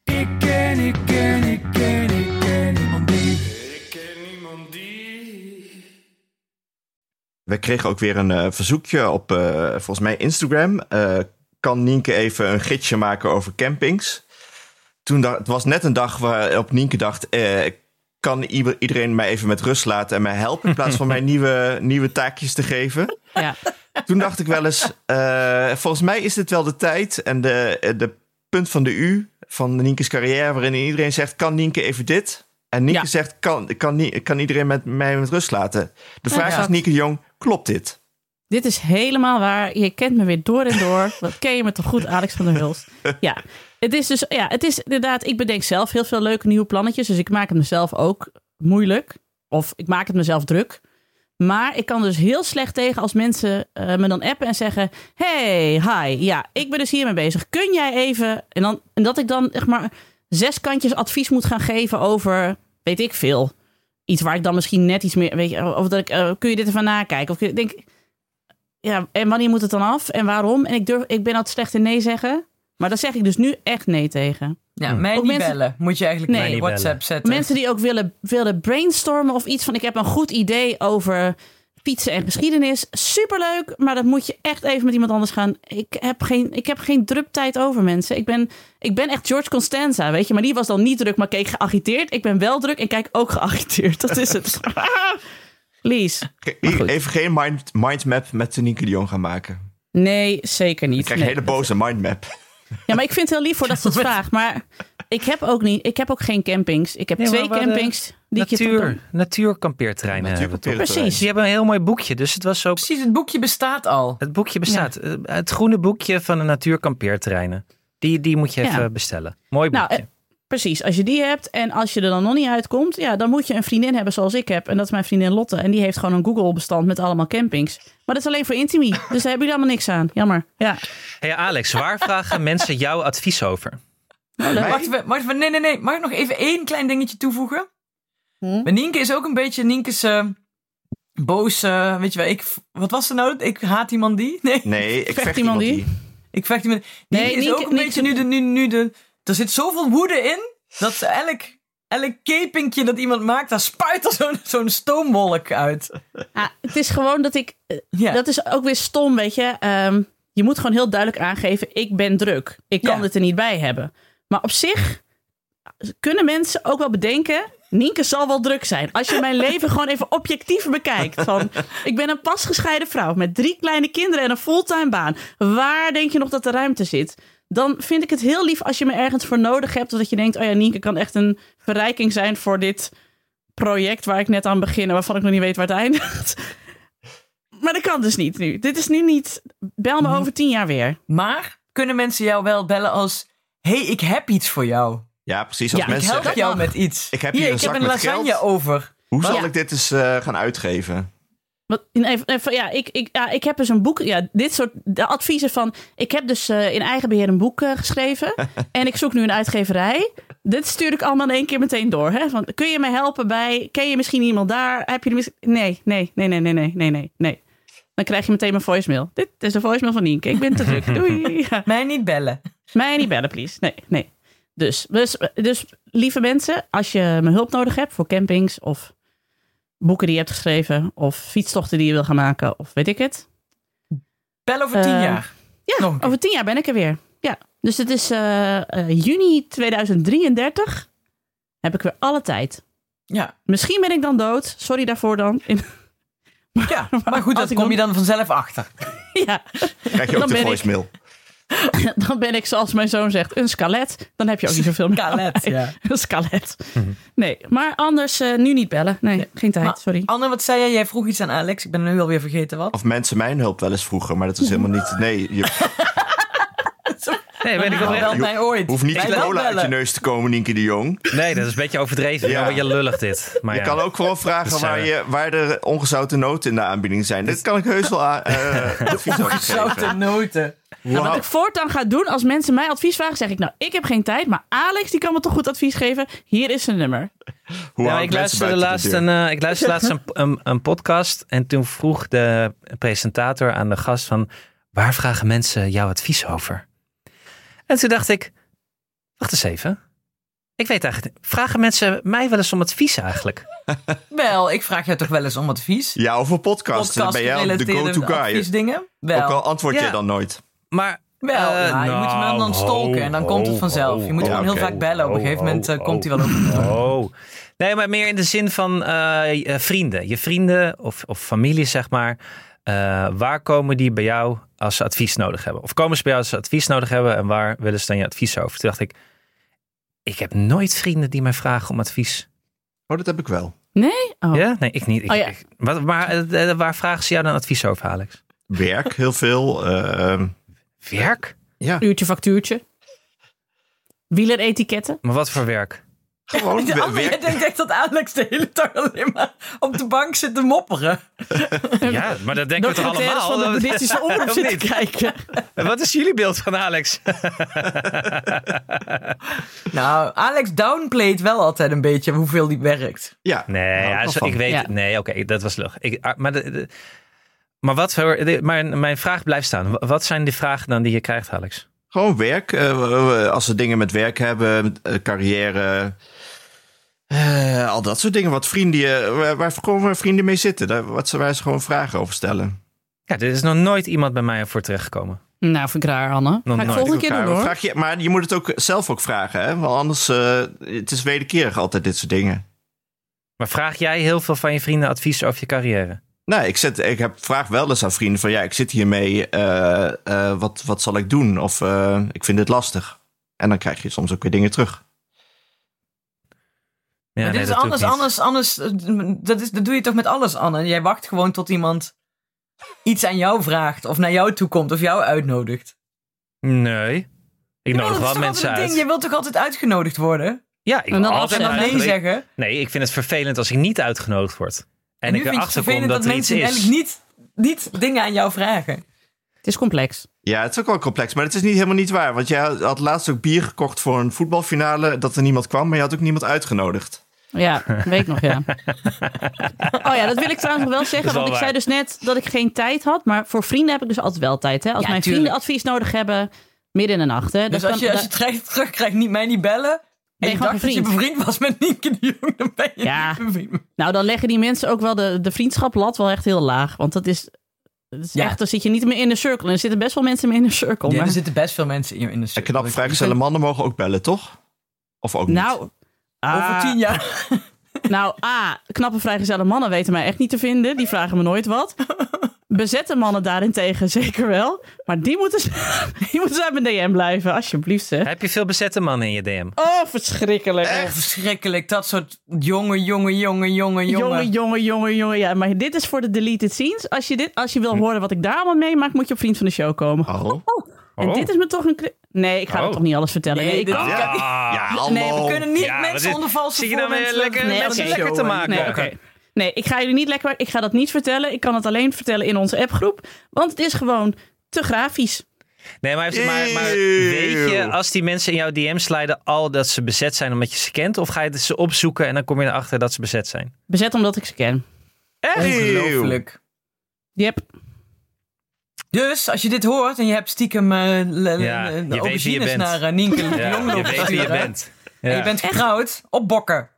Ik ken, ik ken, ik ken, ik ken niemand die. We kregen ook weer een eh, verzoekje op eh, volgens mij Instagram. Eh, kan Nienke even een gidsje maken over campings? Toen dacht, het was net een dag waarop Nienke dacht... eh, kan ieder- iedereen mij even met rust laten en mij helpen... in *laughs* plaats van mij nieuwe, nieuwe taakjes te geven? Ja. Toen dacht ik wel eens... eh, volgens mij is dit wel de tijd en de, eh, de punt van de U... van Nienke's carrière waarin iedereen zegt... kan Nienke even dit? En Nienke Ja. zegt... Kan, kan, Nie- kan iedereen met, mij met rust laten? De vraag Ja. is Nienke de Jong... klopt dit? Dit is helemaal waar. Je kent me weer door en door. Wat ken je me toch goed, Alex van der Hulst? Ja. Het is dus, ja, het is inderdaad, ik bedenk zelf heel veel leuke nieuwe plannetjes. Dus ik maak het mezelf ook moeilijk. Of ik maak het mezelf druk. Maar ik kan dus heel slecht tegen als mensen eh, me dan appen en zeggen: Hey, hi, ja, ik ben dus hiermee bezig. Kun jij even. En, dan, en dat ik dan zeg maar zes kantjes advies moet gaan geven over, weet ik veel. Iets waar ik dan misschien net iets meer. Weet je, of dat ik, eh, kun je dit even nakijken? Of kun je, denk, ja, en wanneer moet het dan af en waarom? En ik, durf, ik ben altijd slecht in nee zeggen. Maar daar zeg ik dus nu echt nee tegen. ja mij Ook niet mensen- bellen. Moet je eigenlijk Nee. in je Mij niet WhatsApp zetten. Mensen die ook willen, willen brainstormen of iets van... ik heb een goed idee over fietsen en geschiedenis. Superleuk, maar dat moet je echt even met iemand anders gaan. Ik heb geen, ik heb geen druptijd over, mensen. Ik ben, ik ben echt George Constanza, weet je. Maar die was dan niet druk, maar keek geagiteerd. Ik ben wel druk en kijk ook *laughs* geagiteerd. Dat *laughs* is het. Lies. Ge- Maar goed. Even geen mind, mindmap met Nienke de Jong gaan maken. Nee, zeker niet. Ik krijg Nee. een hele boze mindmap. Ja, maar ik vind het heel lief voor dat *laughs* ze het vraagt. Maar ik heb ook niet. Ik heb ook geen campings. Ik heb Nee, maar twee we hadden campings die ik je Natuur, natuurkampeerterreinen hebben we toch? Precies. Ze hebben een heel mooi boekje, dus het was ook... Precies, het boekje bestaat al. Het boekje bestaat. eh, Het groene boekje van de natuurkampeerterreinen. Die, die moet je Ja. even bestellen. Mooi Nou, boekje. eh, Precies, als je die hebt en als je er dan nog niet uitkomt, ja, dan moet je een vriendin hebben zoals ik heb. En dat is mijn vriendin Lotte. En die heeft gewoon een Google-bestand met allemaal campings. Maar dat is alleen voor Intimi. Dus daar hebben jullie allemaal niks aan. Jammer. Ja. hey Alex, *laughs* waar vragen mensen jouw advies over? Mag, we, mag, we- nee, nee, nee. Mag ik nog even één klein dingetje toevoegen? Hm? Maar Nienke is ook een beetje... Nienke is eh, boos. eh, weet je wel, ik, wat was er nou? Ik haat iemand die? *laughs* Nee, Nee, ik Vecht vecht iemand iemand die? die. ik vecht iemand. Nee, Nienke is Nienke- ook een beetje nu de, nu, nu de... Er zit zoveel woede in. Dat elk, elk kepinkje dat iemand maakt, daar spuit er zo'n zo'n stoomwolk uit. Ah, het is gewoon dat ik. eh, Ja. Dat is ook weer stom, weet je. Ehm, je moet gewoon heel duidelijk aangeven: ik ben druk. Ik kan Ja. het er niet bij hebben. Maar op zich kunnen mensen ook wel bedenken. Nienke zal wel druk zijn. Als je mijn leven gewoon even objectief bekijkt. Van, ik ben een pasgescheiden vrouw met drie kleine kinderen en een fulltime baan. Waar denk je nog dat de ruimte zit? Dan vind ik het heel lief als je me ergens voor nodig hebt. Of dat je denkt, oh ja, Nienke kan echt een verrijking zijn voor dit project waar ik net aan begin. En waarvan ik nog niet weet waar het eindigt. Maar dat kan dus niet nu. Dit is nu niet. Bel me over tien jaar weer. Maar kunnen mensen jou wel bellen als... hey, ik heb iets voor jou. Ja, precies. Als Ja, Ik mensen help zeggen, jou met iets. ik heb Hier, hier een ik heb zak een met lasagne geld. over. Hoe zal Ja. ik dit eens eh, gaan uitgeven? Want, even, even, ja, ik, ik, ja, ik heb dus een boek. Ja, dit soort de adviezen van. Ik heb dus eh, in eigen beheer een boek eh, geschreven. en ik zoek nu een uitgeverij. Dit stuur ik allemaal in één keer meteen door. Hè? Van, kun je me helpen bij. Ken je misschien iemand daar? Heb je er misschien. Nee, nee, nee, nee, nee, nee, nee, nee, nee. Dan krijg je meteen mijn voicemail. Dit is de voicemail van Nienke. Ik ben te druk. Doei. Ja. Mij niet bellen. Mij niet bellen, please. Nee, nee. Dus, dus, dus lieve mensen, als je mijn hulp nodig hebt voor campings of boeken die je hebt geschreven of fietstochten die je wil gaan maken of weet ik het. Bel over tien Eh, jaar. Ja, Nog een keer. over tien jaar ben ik er weer. Ja, dus het is eh, eh, juni 2033. Heb ik weer alle tijd. Ja. Misschien ben ik dan dood. Sorry daarvoor dan. *laughs* In- *laughs* ja. Maar goed, Als dat ik kom dan- je dan vanzelf achter. *laughs* ja, Krijg je Dan ook de ben ik- voicemail? dan ben ik zoals mijn zoon zegt een skelet. Dan heb je ook niet zoveel meer. aan Kalet, mij. ja. *laughs* Een skelet. Nee, maar anders eh, nu niet bellen. Nee, geen tijd. Mhm. Maar- sorry. Anne, wat zei jij? Jij vroeg iets aan Alex. Ik ben nu alweer vergeten wat. Of mensen mijn hulp wel eens vroegen, maar dat is helemaal niet... Nee, je Nee, weet ik Nou, Niemand oprecht. belt mij ooit. hoeft niet Wij de wel cola uit je bellen. neus te komen, Nienke de Jong. Nee, dat is een beetje overdreven. Ja. Ja, wat je lullig dit. Maar Je ja. kan ook gewoon vragen Dus, eh, waar, je, waar er ongezouten noten in de aanbieding zijn. Dat kan ik heus wel aan- *laughs* eh advies over Zoute geven. noten. Nou, wat Wauw. ik voortaan ga doen, als mensen mij advies vragen, zeg ik nou, ik heb geen tijd, maar Alex die kan me toch goed advies geven. Hier is zijn nummer. Hoe Ja, hou maar ik Nou, ik, mensen luisterde buiten de laatst deur? een, eh, ik luisterde laatst een, een, een podcast en toen vroeg de presentator aan de gast van... waar vragen mensen jouw advies over? En toen dacht ik, wacht eens even. Ik weet eigenlijk, niet. vragen mensen mij wel eens om advies eigenlijk? Wel, ik vraag jou toch wel eens om advies? Ja, over podcasts. Dan ben jij de Podcast-gerelateerde go-to guy. adviesdingen? Ook al Wel. antwoord Ja. je dan nooit. Maar Wel, eh, ja, je moet hem wel dan nou, stalken en dan ho, komt het vanzelf. Je moet ho, gewoon heel oké. vaak bellen. Op een gegeven ho, moment eh, ho. komt hij wel op. *laughs* Oh. Nee, maar meer in de zin van eh, eh, vrienden. Je vrienden of, of familie, zeg maar. Eh, waar komen die bij jou als ze advies nodig hebben? Of komen ze bij jou als ze advies nodig hebben en waar willen ze dan je advies over? Toen dacht ik, ik heb nooit vrienden die mij vragen om advies. Oh, dat heb ik wel. Nee? Oh. Ja? Nee, ik niet. Ik, Oh ja. ik- wat, maar eh, waar vragen ze jou dan advies over, Alex? Werk heel veel. eh, ehm, Werk? ja, Uurtje factuurtje. Wieleretiketten. Maar wat voor *laughs* werk? gewoon we- Anne, jij werk. denkt echt dat Alex de hele dag alleen maar op de bank zit te mopperen. Ja, maar dat denken we toch Documentaires allemaal? van de boeddhistische *laughs* oorlog Of zitten niet? kijken. Wat is jullie beeld van Alex? Nou, Alex downplayt wel altijd een beetje hoeveel die werkt. Ja, Nou, Nee, Nou, daar hou ja, wel zo- van. ik weet Ja. het. Nee, oké, dat was lug. Ik, ah, maar, de- de- maar wat voor. de- maar mijn vraag blijft staan. Wa- Wat zijn de vragen dan die je krijgt, Alex? Gewoon werk. eh, eh, als ze dingen met werk hebben, eh, carrière. eh, al dat soort dingen. Wat vrienden, je- waar, waar gewoon waar vrienden mee zitten. Daar, wat ze, waar ze gewoon vragen over stellen. Ja, er is nog nooit iemand bij mij voor terechtgekomen. Nou, vind ik raar, Anne. Nog Ga ik nooit. volgende keer doen, Elkaar. hoor. Vraag je, maar je moet het ook zelf ook vragen. Hè? Want anders, eh het is wederkerig altijd dit soort dingen. Maar vraag jij heel veel van je vrienden advies over je carrière? Nou, ik, zet, ik heb, vraag wel eens aan vrienden van... ja, ik zit hiermee, eh, eh, wat, wat zal ik doen? Of eh, ik vind dit lastig. En dan krijg je soms ook weer dingen terug. Ja, maar nee, dit dat is doe ik anders, niet. anders, anders. eh, Dat, is, dat doe je toch met alles, Anne? Jij wacht gewoon tot iemand iets aan jou vraagt. Of naar jou toe komt. Of jou uitnodigt. Nee. Ik Jawel, nodig dat is wel toch mensen altijd een uit. ding. Je wilt toch altijd uitgenodigd worden? Ja, ik En dan wil En altijd dan Ja, nee uitgenodigd- zeggen. Nee, ik vind het vervelend als ik niet uitgenodigd word. En nu ik vind je het erachter kom vervelend dat dat er iets mensen is. eigenlijk niet, niet dingen aan jou vragen. Het is complex. Ja, het is ook wel complex, maar het is niet helemaal niet waar. Want jij had laatst ook bier gekocht voor een voetbalfinale... dat er niemand kwam, maar je had ook niemand uitgenodigd. Ja, weet ik nog, *laughs* ja. Oh ja, dat wil ik trouwens nog wel zeggen. Dat is wel want ik zei waar. dus net dat ik geen tijd had. Maar voor vrienden heb ik dus altijd wel tijd. Hè? Als Ja, mijn tuurlijk. vrienden advies nodig hebben, midden in de nacht. Hè? Dat Dus als kan- je, als je dat- het terug- terugkrijgt, niet mij niet bellen. ben En je je gewoon dacht dat je bevriend. bevriend was met Nienke de Jong, dan ben je Ja. niet bevriend. Nou, dan leggen die mensen ook wel de, de vriendschaplat wel echt heel laag. Want dat is, dat is Ja. echt, dan zit je niet meer in de cirkel. En er zitten best wel mensen in de cirkel. Ja, maar- er zitten best veel mensen in, in de En cirkel. knap Ik- vrijgezelle mannen mogen ook bellen, toch? Of ook niet? nou, Over ah, tien jaar. *laughs* nou, A, knappe vrijgezelle mannen weten mij echt niet te vinden. Die vragen me nooit *laughs* wat. Bezette mannen daarentegen *laughs* zeker wel. Maar die moeten, die moeten ze *laughs* uit mijn DM blijven, alsjeblieft zeg. Heb je veel bezette mannen in je DM? Oh, verschrikkelijk. Echt verschrikkelijk. Dat soort jonge, jonge, jonge, jonge, Jongen, jonge. jongen, jongen, jongen. Ja, maar dit is voor de deleted scenes. Als je, dit, als je Hm. wil horen wat ik daar allemaal meemaak, moet je op Vriend van de Show komen. Oh. En Oh. dit is me toch een... cri- Nee, ik ga Oh. het toch niet alles vertellen. Nee, Nee, ik dit- kan- Ja, Ja, Ah. hallo. Nee, we kunnen niet Ja, wat mensen is- onder valse zie je nou weer voorwendselen lekker- verleiden. mensen oké. lekker te maken. Nee, oké. nee, ik ga jullie niet lekker... Ik ga dat niet vertellen. Ik kan het alleen vertellen in onze appgroep. Want het is gewoon te grafisch. Nee, maar, maar, maar Eeuw. weet je, als die mensen in jouw DM sliden, al dat ze bezet zijn omdat je ze kent? Of ga je ze opzoeken en dan kom je erachter dat ze bezet zijn? Bezet omdat ik ze ken. Ongelooflijk. Yep. Dus als je dit hoort en je hebt stiekem eh, le- Ja, eh, je weet wie je aubergines bent. naar eh, Nienke de Jong Ja, je lopen weet wie je sturen, bent. En Ja. je bent getrouwd op bokken.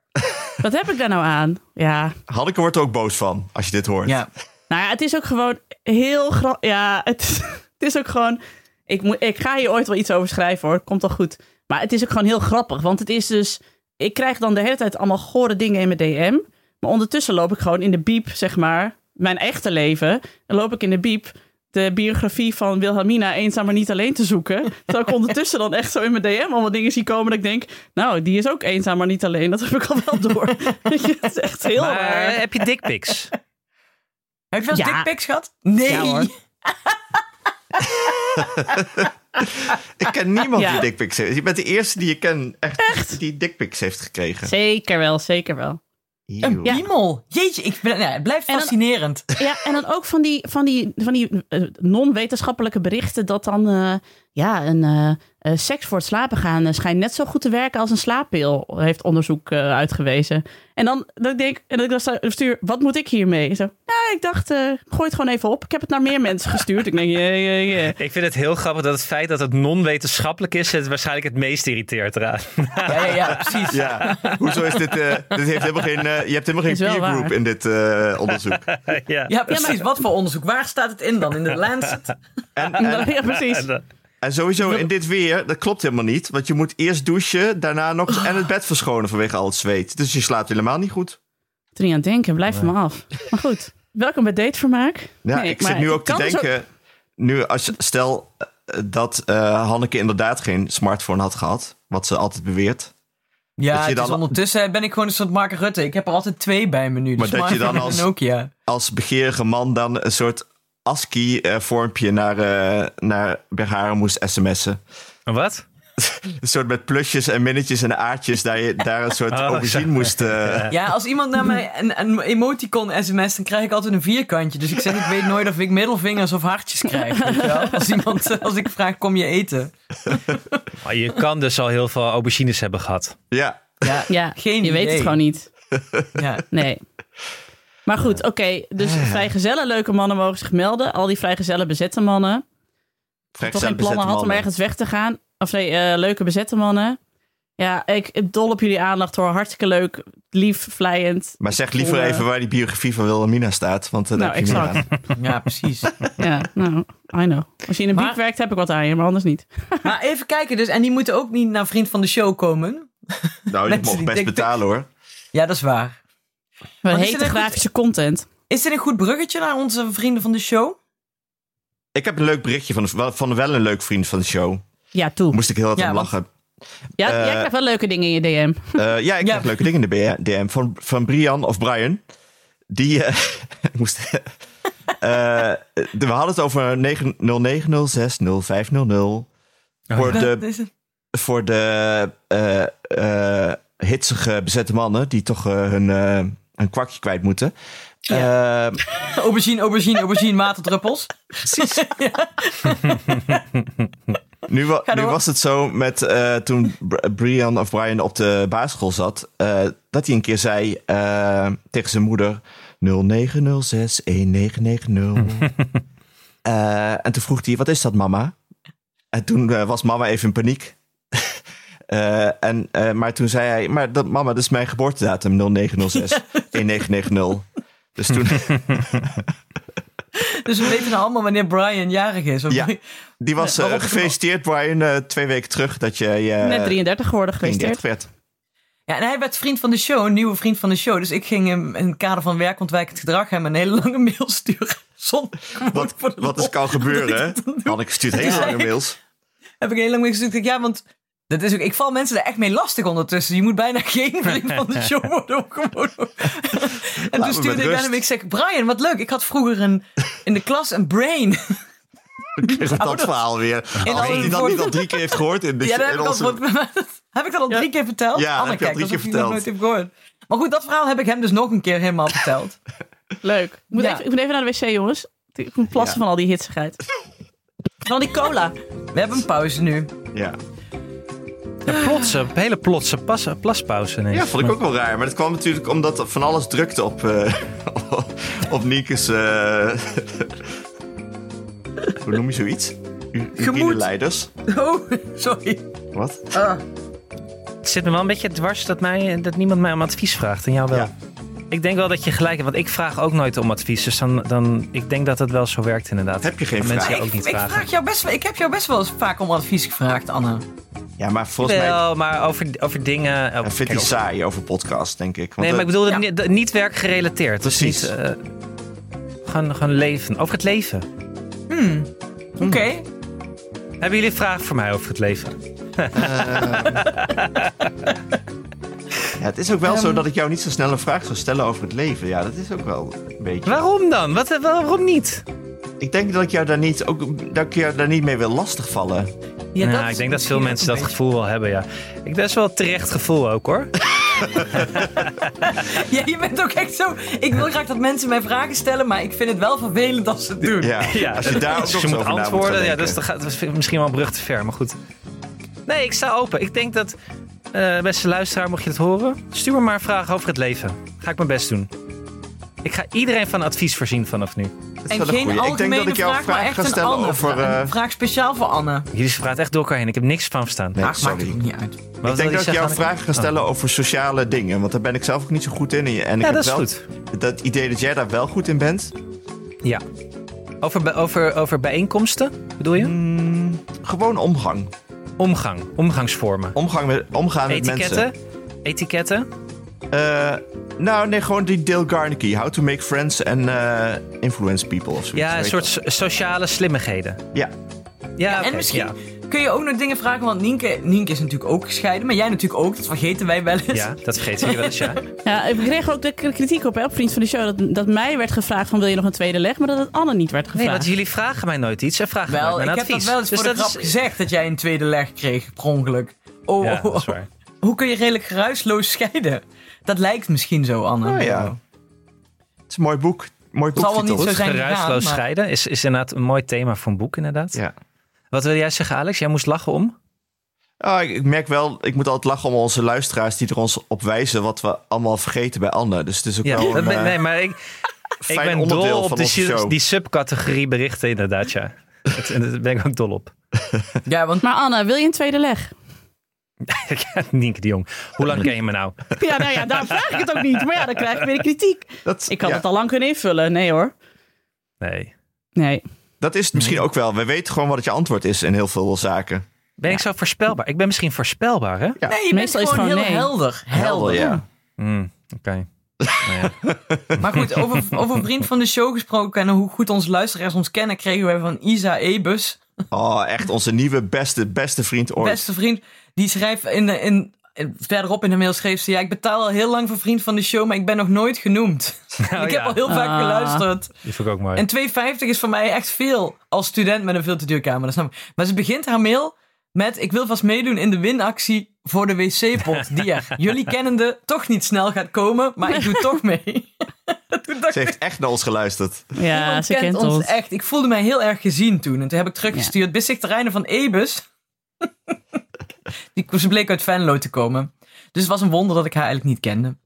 Wat heb ik daar nou aan? Ja. Hanneke wordt er ook boos van als je dit hoort. Ja. Nou ja, het is ook gewoon heel groot. Ja, het is, *laughs* het is ook gewoon. Ik, moet, ik ga hier ooit wel iets over schrijven hoor. Komt al goed. Maar het is ook gewoon heel grappig. Want het is dus. Ik krijg dan de hele tijd allemaal gore dingen in mijn DM. Maar ondertussen loop ik gewoon in de biep, zeg maar. Mijn echte leven. Dan loop ik in de biep de biografie van Wilhelmina eenzaam maar niet alleen te zoeken. Terwijl ik ondertussen dan echt zo in mijn DM allemaal dingen zie komen dat ik denk... Nou, die is ook eenzaam maar niet alleen. Dat heb ik al wel door. *laughs* Weet je, Het is echt heel Maar raar. heb je dickpics? Heb je wel eens Ja. dickpics gehad? Nee. Ja, hoor. Ik ken niemand Ja. die dickpics heeft. Je bent de eerste die je ken echt, die dickpics heeft gekregen. Zeker wel, zeker wel. Eeuw. Ja. Piemel. Jeetje, ik ben, nou, het blijft En dan- fascinerend. Ja, en dan ook van die, van die, van die eh, non-wetenschappelijke berichten dat dan eh, ja, een eh, eh, seks voor het slapen gaan eh, schijnt net zo goed te werken als een slaappil, heeft onderzoek eh, uitgewezen. En dan dat ik denk en dat ik dan sta- stuur, wat moet ik hiermee? Zo, nou, ik dacht, eh, gooi het gewoon even op. Ik heb het naar meer mensen gestuurd. Ik denk, jee, jee, jee. Ik vind het heel grappig dat het feit dat het non-wetenschappelijk is, het waarschijnlijk het meest irriteert eraan. *laughs* Ja, ja, ja, precies. Ja, hoezo is dit? eh, dit heeft helemaal geen, eh, je hebt helemaal geen Is wel peer waar. group in dit eh, onderzoek. ja. Ja, precies. Wat voor onderzoek? Waar staat het in dan? In de Lancet? En, en, Ja, precies. en sowieso in dit weer, dat klopt helemaal niet. Want je moet eerst douchen, daarna nog en het bed verschonen vanwege al het zweet. Dus je slaapt helemaal niet goed. Ik er niet aan het denken, blijf van me af. Maar goed, welkom bij Datevermaak. Ja, Nee, ik zit maar nu het ook te kan dus denken. Nu, als, je- stel eh, dat eh, Hanneke inderdaad geen smartphone had gehad, wat ze altijd beweert. Ja, Dat je het is dan- ondertussen ben ik gewoon een soort Mark Rutte. Ik heb er altijd twee bij me nu. de Maar dat je smartphone dan en als- de Nokia. Als begeerige man dan een soort ASCII-vormpje naar, eh, naar Bergharen moest sms'en. eh, Wat? Een soort met plusjes en minnetjes en aardjes, daar, je, daar een soort Oh, aubergine zo. moest... eh, Ja, als iemand naar mij een, een emoticon sms, dan krijg ik altijd een vierkantje. Dus ik zeg, ik weet nooit of ik middelvingers of hartjes krijg. weet je wel? Als, iemand, als ik vraag, kom je eten? Maar je kan dus al heel veel aubergines hebben gehad. Ja, Ja, Ja, Geen je weet het idee. gewoon niet. ja. Nee. Maar goed, oké. dus vrijgezellen leuke mannen mogen zich melden. Al die vrijgezellen bezette mannen. Frank Toch zijn geen plannen had om mannen. ergens weg te gaan. Of nee, eh, leuke bezette mannen. Ja, ik dol op jullie aandacht hoor. Hartstikke leuk, lief, vlijend. Maar zeg liever Voor, eh, even waar die biografie van Wilhelmina staat, want eh, daar Nou, heb je meer aan. exact. *laughs* ja, precies. *laughs* Ja, nou, I know. Als je in een Maar- biep werkt, heb ik wat aan je, maar anders niet. Maar even kijken dus. En die moeten ook niet naar Vriend van de Show komen. Nou, je Mensen mocht die best dickpics- betalen hoor. Ja, dat is waar. We Maar is hete het echt- grafische content. Is dit een goed bruggetje naar onze Vrienden van de Show? Ik heb een leuk berichtje van, de- van wel een leuk vriend van de show. Ja, toe. Moest ik heel hard Ja, om want- lachen. Ja, eh, jij krijgt wel leuke dingen in je DM. Eh, ja, *laughs* ik Ja. krijg leuke dingen in de BR DM van, van Brian of Brian. Die eh, *laughs* ik moest. eh, we hadden het over 9090605000 voor Dat de, is het. voor de eh, eh, hitsige bezette mannen die toch eh, hun, eh, hun kwakje kwijt moeten. Eh, Aubergine, aubergine, aubergine, waterdruppels. *laughs* Nu, wa- Ga nu door. was het zo met eh, toen Br- Brian of Brian op de basisschool zat, eh, dat hij een keer zei eh, tegen zijn moeder 09061990. *laughs* Eh, en toen vroeg hij, wat is dat mama? En toen eh, was mama even in paniek. *laughs* Eh, en, eh, maar toen zei hij, maar dat, mama, dat is mijn geboortedatum, 0906 1990. Dus *laughs* toen, Dus we weten nou allemaal wanneer Brian jarig is. ja, die was eh, Waarom is het gefeliciteerd Brian, eh, twee weken terug dat je je Net 33 geworden gefeliciteerd. 33 werd. Ja, en hij werd vriend van de show, een nieuwe vriend van de show. Dus ik ging hem in het kader van werkontwijkend gedrag hem een hele lange mail sturen. *laughs* Zonder gewoon Wat, voor de wat is lol. kan gebeuren, hè? Anneke stuurt hele lange Nee. mails. Heb ik een hele lange mail gestuurd. Ik dacht, Ja, want dat is ook, ik val mensen er echt mee lastig ondertussen. Je moet bijna *laughs* geen vriend van de show worden. om *laughs* gewoon- en met toen stuurde ik rust. naar hem. Ik zeg, Brian, wat leuk. Ik had vroeger een, in de klas een *laughs* brain. Is het dat verhaal weer? Als alle hij dat niet woorden. al drie keer heeft gehoord in, de, Ja, *laughs* dat in heb, ik onze- al, heb ik dat al drie keer verteld? Ja, dat Anne heb je al drie kijkt alsof keer je dat nooit verteld. hebt gehoord. Maar goed, dat verhaal heb ik hem dus nog een keer helemaal verteld. Leuk. Ik moet, Ja. even, ik moet even naar de wc, jongens. Ik moet plassen Ja. van al die hitsigheid. Van die cola. We hebben een pauze nu. ja. Een plotse, een hele plotse pas, plaspauze. ineens. ja, vond ik ook wel raar. Maar dat kwam natuurlijk omdat er van alles drukte op, eh *laughs* op Nieke's... eh, *laughs* hoe noem je zoiets? U- Urineleiders. Oh, *laughs* sorry. Wat? Het zit me wel een beetje dwars dat, mij, dat niemand mij om advies vraagt. En jou wel. Ja. Ik denk wel dat je gelijk hebt, want ik vraag ook nooit om advies. Dus dan, dan, ik denk dat het wel zo werkt inderdaad. Heb je geen Dat vraag? mensen je ik, ook niet ik vragen. vraag jou best, wel- ik heb jou best wel eens vaak om advies gevraagd, Anne. Hm. Ja, maar volgens mij Wel, maar over, over dingen... oh, hij kijk, vindt hij over- saai over podcast, denk ik. Want Nee, maar ik dat- bedoelde Ja. ni- de- niet werkgerelateerd. Precies. Dus niet, eh, gewoon, gewoon leven. Over het leven. Oké. Hebben jullie vragen voor mij over het leven? ja, het is ook wel Ehm. zo dat ik jou niet zo snel een vraag zou stellen over het leven. Ja, dat is ook wel een beetje... Waarom dan? Wat, waarom niet? Ik denk dat ik jou daar niet, ook, dat ik jou daar niet mee wil lastigvallen. Ja, nou, dat ik is denk dat veel misschien mensen ook dat een gevoel wel hebben, ja. Ik, dat is wel terecht gevoel ook, hoor. beetje- *laughs* Ja, je bent ook echt zo... Ik wil graag dat mensen mij vragen stellen, maar ik vind het wel vervelend als ze het doen. *laughs* Ja, als je daar ook dus nog je zo moet over na antwoorden. gaan ja, denken. dus dat, gaat, dat vind ik misschien wel een brug te ver, maar goed. Nee, ik sta open. Ik denk dat, eh, beste luisteraar, mocht je het horen, stuur me maar vragen over het leven. Ga ik mijn best doen. Ik ga iedereen van advies voorzien vanaf nu. Dat is En wel een geen goeie. Ik denk algemene dat ik jou vraag, maar vragen echt ga een stellen Anne. over... vraag. eh, Een vraag speciaal voor Anne. Jullie praten echt door elkaar heen. Ik heb niks van verstaan. nee, Ach, maakt sorry. het niet uit. Ik denk dat ik jou vragen ga Oh. stellen over sociale dingen. Want daar ben ik zelf ook niet zo goed in. En ik Ja, heb dat is wel goed. dat idee dat jij daar wel goed in bent. Ja. Over, bij- over, over bijeenkomsten, bedoel je? Mm. Gewoon omgang. Omgang, omgangsvormen. Omgang met, omgaan met mensen. Etiketten. Etiketten. Eh, nou, nee, gewoon die Dale Carnegie. How to make friends and eh, influence people of zoiets. Ja, een weet soort so- sociale slimmigheden. je. Ja, Ja, Ja, oké, en misschien ja. kun je ook nog dingen vragen, want Nienke, Nienke is natuurlijk ook gescheiden, maar jij natuurlijk ook, dat vergeten wij wel eens. Ja, dat vergeten jullie wel eens, *laughs* ja. Ja, ik kreeg ook de k- kritiek op, hè, op Vriend van de Show. Dat, dat mij werd gevraagd van wil je nog een tweede leg? Maar dat het Anne niet werd Nee, gevraagd. want jullie vragen mij nooit iets. Ze vragen Wel, mij ik mijn heb advies. dat wel eens dus voor de dat grap is... gezegd dat jij een tweede leg kreeg, per ongeluk. Oh, Ja, oh, dat oh. is waar. hoe kun je redelijk geruisloos scheiden? Dat lijkt misschien zo, Anne. Oh, ja. het is een mooi boek. Mooi zal wel boektitel. niet Goed, zo zijn geruisloos gegaan, maar- scheiden is, is inderdaad een mooi thema voor een boek, inderdaad. Ja. Wat wil jij zeggen, Alex? Jij moest lachen om? Ah, ik, ik merk wel, ik moet altijd lachen om onze luisteraars die er ons op wijzen wat we allemaal vergeten bij Anne. Dus het is ook Ja, wel een dat ben- eh, *laughs* nee, maar ik, ik fijn ben onderdeel dol op van die, onze su- show. die subcategorie berichten, inderdaad, *laughs* ja. Dat- en Daar ben ik ook dol op. *laughs* Ja, want Maar Anne, wil je een tweede leg? Nienke de Jong, hoe lang ken je me nou? *laughs* Ja, nou ja, daar vraag ik het ook niet. Maar ja, dan krijg ik weer de kritiek. Dat, Ik had ja, het al lang kunnen invullen. Nee hoor. Nee. Nee. dat is het misschien ook wel. We weten gewoon wat het je antwoord is in heel veel zaken. Ben ik zo voorspelbaar? Ik ben misschien voorspelbaar, hè? Ja. nee, je Meestal bent is gewoon heel het gewoon nee. helder. Helder, ja. Hmm, Oké. Nou ja. Maar goed, over, over een vriend van de show gesproken en hoe goed onze luisteraars ons kennen, kregen wij van Isa Ebus, Oh, echt onze nieuwe beste, beste vriend ooit. beste vriend, die schrijft in, de- in, in- verderop in de mail schreef ze, ja, ik betaal al heel lang voor vriend van de show, maar ik ben nog nooit genoemd. *laughs* Nou ik ja, heb al heel vaak Ah. geluisterd. Die vond ik ook mooi. En 2,50 is voor mij echt veel als student met een veel te duur kamer. Dat snap ik. Maar ze begint haar mail met: Ik wil vast meedoen in de winactie voor de wc-pot. Die er, jullie kennende, toch niet snel gaat komen, maar ik doe toch mee. Toen dacht Ze ik, heeft echt naar ons geluisterd. Ja, "Iemand ze kent ons. echt. Ik voelde mij heel erg gezien toen. En toen heb ik teruggestuurd. Bis ik terreinen van Ebus. Die, ze bleek uit Venlo te komen. Dus het was een wonder dat ik haar eigenlijk niet kende.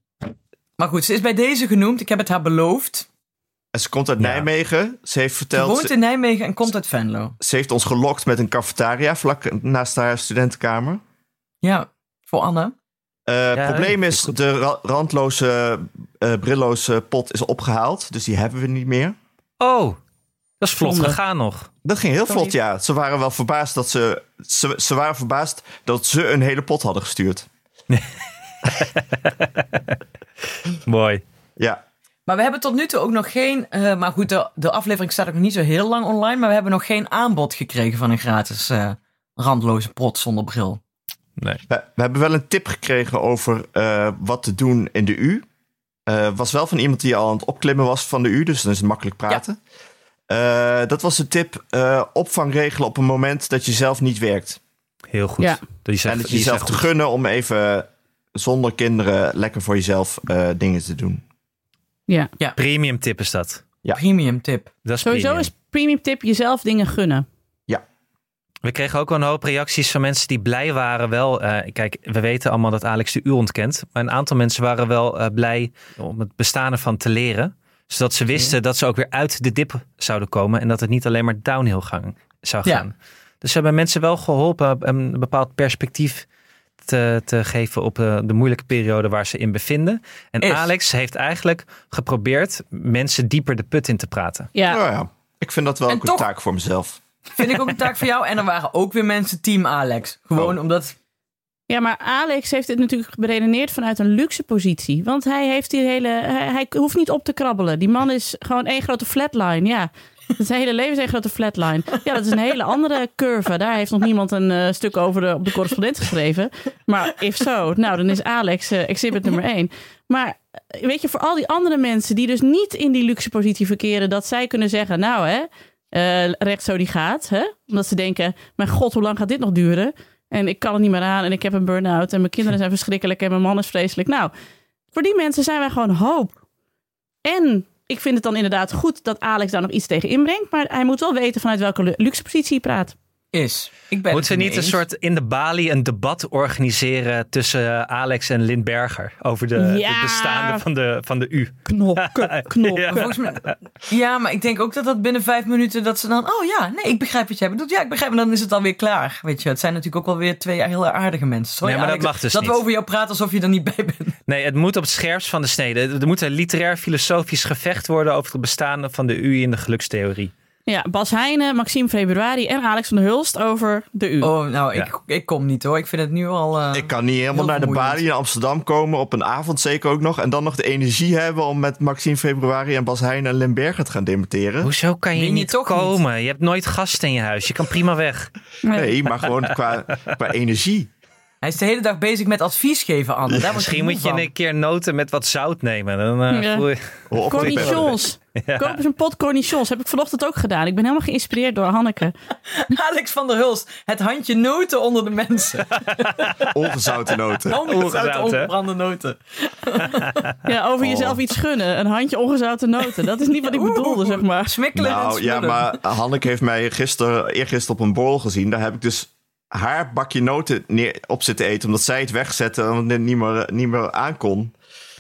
Maar goed, ze is bij deze genoemd. Ik heb het haar beloofd. En ze komt uit Ja. Nijmegen. Ze heeft Ze verteld. woont Ze, in Nijmegen en komt uit Venlo. ze heeft ons gelokt met een cafetaria vlak naast haar studentenkamer. Ja, voor Anne. Eh Ja, probleem dat is, de ra- randloze, eh, brilloze pot is opgehaald. Dus die hebben we niet meer. Oh, dat is vlot Zonde. gegaan nog. Dat ging heel Sorry. vlot, ja. Ze waren wel verbaasd dat ze, ze... Ze waren verbaasd dat ze een hele pot hadden gestuurd. Mooi. Ja. Maar we hebben tot nu toe ook nog geen. eh, maar goed, de, de aflevering staat ook nog niet zo heel lang online. Maar we hebben nog geen aanbod gekregen van een gratis eh, randloze prot zonder bril. Nee. We, we hebben wel een tip gekregen over eh, wat te doen in de U. Eh was wel van iemand die al aan het opklimmen was van de U, dus dan is het makkelijk praten. Eh, dat was de tip, eh, opvang regelen op een moment dat je zelf niet werkt. Heel goed. Ja. Die zegt, en dat je die jezelf zegt te goed. gunnen om even zonder kinderen lekker voor jezelf eh, dingen te doen. Ja. Premium tip is dat. Ja. Premium tip. Dat is Sowieso premium. is premium tip jezelf dingen gunnen. We kregen ook wel een hoop reacties van mensen die blij waren. Wel, eh, kijk, we weten allemaal dat Alex de U ontkent. Maar een aantal mensen waren wel eh, blij om het bestaan ervan te leren. Zodat ze wisten dat ze ook weer uit de dip zouden komen. En dat het niet alleen maar downhill gang, zou Ja. gaan. Dus ze hebben mensen wel geholpen een bepaald perspectief te, te geven op eh, de moeilijke periode waar ze in bevinden. En Is. Alex heeft eigenlijk geprobeerd mensen dieper de put in te praten. Ja. Nou ja, ik vind dat wel En een toch- taak voor mezelf. Vind ik ook een taak voor jou. En er waren ook weer mensen team Alex. Gewoon omdat... ja, maar Alex heeft dit natuurlijk beredeneerd vanuit een luxe positie. Want hij heeft die hele. Hij, hij hoeft niet op te krabbelen. Die man is gewoon één grote flatline. Ja. Zijn hele leven is één grote flatline. Ja, dat is een hele andere curve. Daar heeft nog niemand een eh, stuk over de, op de correspondent geschreven. Maar if zo, nou dan is Alex eh, exhibit nummer één. Maar eh, weet je, voor al die andere mensen die dus niet in die luxe positie verkeren, dat zij kunnen zeggen, nou hè, eh, recht zo die gaat. Hè? Omdat ze denken, mijn god, hoe lang gaat dit nog duren? En ik kan het niet meer aan en ik heb een burn-out en mijn kinderen zijn verschrikkelijk en mijn man is vreselijk. Nou, voor die mensen zijn wij gewoon hoop. En ik vind het dan inderdaad goed dat Alex daar nog iets tegen inbrengt, maar hij moet wel weten vanuit welke lu- luxe positie hij praat. Is. Ik ben Moeten het we ermee niet een eens. soort in de Bali een debat organiseren tussen Alex en Lynn Berger over de, Ja. het bestaande van de, van de U? Knokken, knokken. Maar volgens mij- ja, maar ik denk ook dat dat binnen vijf minuten dat ze dan... Oh ja, nee, ik begrijp wat jij bedoelt. Ja, ik begrijp. En dan is het alweer klaar. Weet je, het zijn natuurlijk ook wel weer twee heel aardige mensen. Sorry, Nee, maar dat Alex, mag dus Dat niet. we over jou praten alsof je er niet bij bent. Nee, het moet op het scherpst van de snede. Er moet een literair filosofisch gevecht worden over het bestaande van de U in de gelukstheorie. Ja, Bas Heijnen, Maxime Februari en Alex van der Hulst over de U. Oh, nou, Ja. ik, ik kom niet hoor. Ik vind het nu al... eh, Ik kan niet helemaal heel naar de vermoeiend. Bali in Amsterdam komen op een avond zeker ook nog. En dan nog de energie hebben om met Maxime Februari en Bas Heijn en Limberger te gaan debatteren. Hoezo kan je, Win je niet toch niet? komen? Je hebt nooit gasten in je huis. Je kan prima weg. Nee, maar gewoon qua, qua energie. Hij is de hele dag bezig met advies geven, Anne. Daar Misschien moet je een keer noten met wat zout nemen. Dan, eh, Ja. voel je- Hoe op- Cornichons. Koop eens een pot cornichons. Heb ik vanochtend ook gedaan. Ik ben helemaal geïnspireerd door Hanneke. *laughs* Alex van der Hulst, het handje noten onder de *laughs* mensen. Ongezouten *laughs* noten. Ongezouten, Ongezouten, hè? ongebrande noten. Ja, over jezelf iets gunnen. Een handje ongezouten noten. Dat is niet wat ik bedoelde, zeg maar. Smikkelen en Nou ja, smullen. maar Hanneke heeft mij gisteren, eergisteren op een borrel gezien. Daar heb ik dus haar bakje noten neer, op zitten eten. Omdat zij het wegzette en het niet meer, niet meer aankon.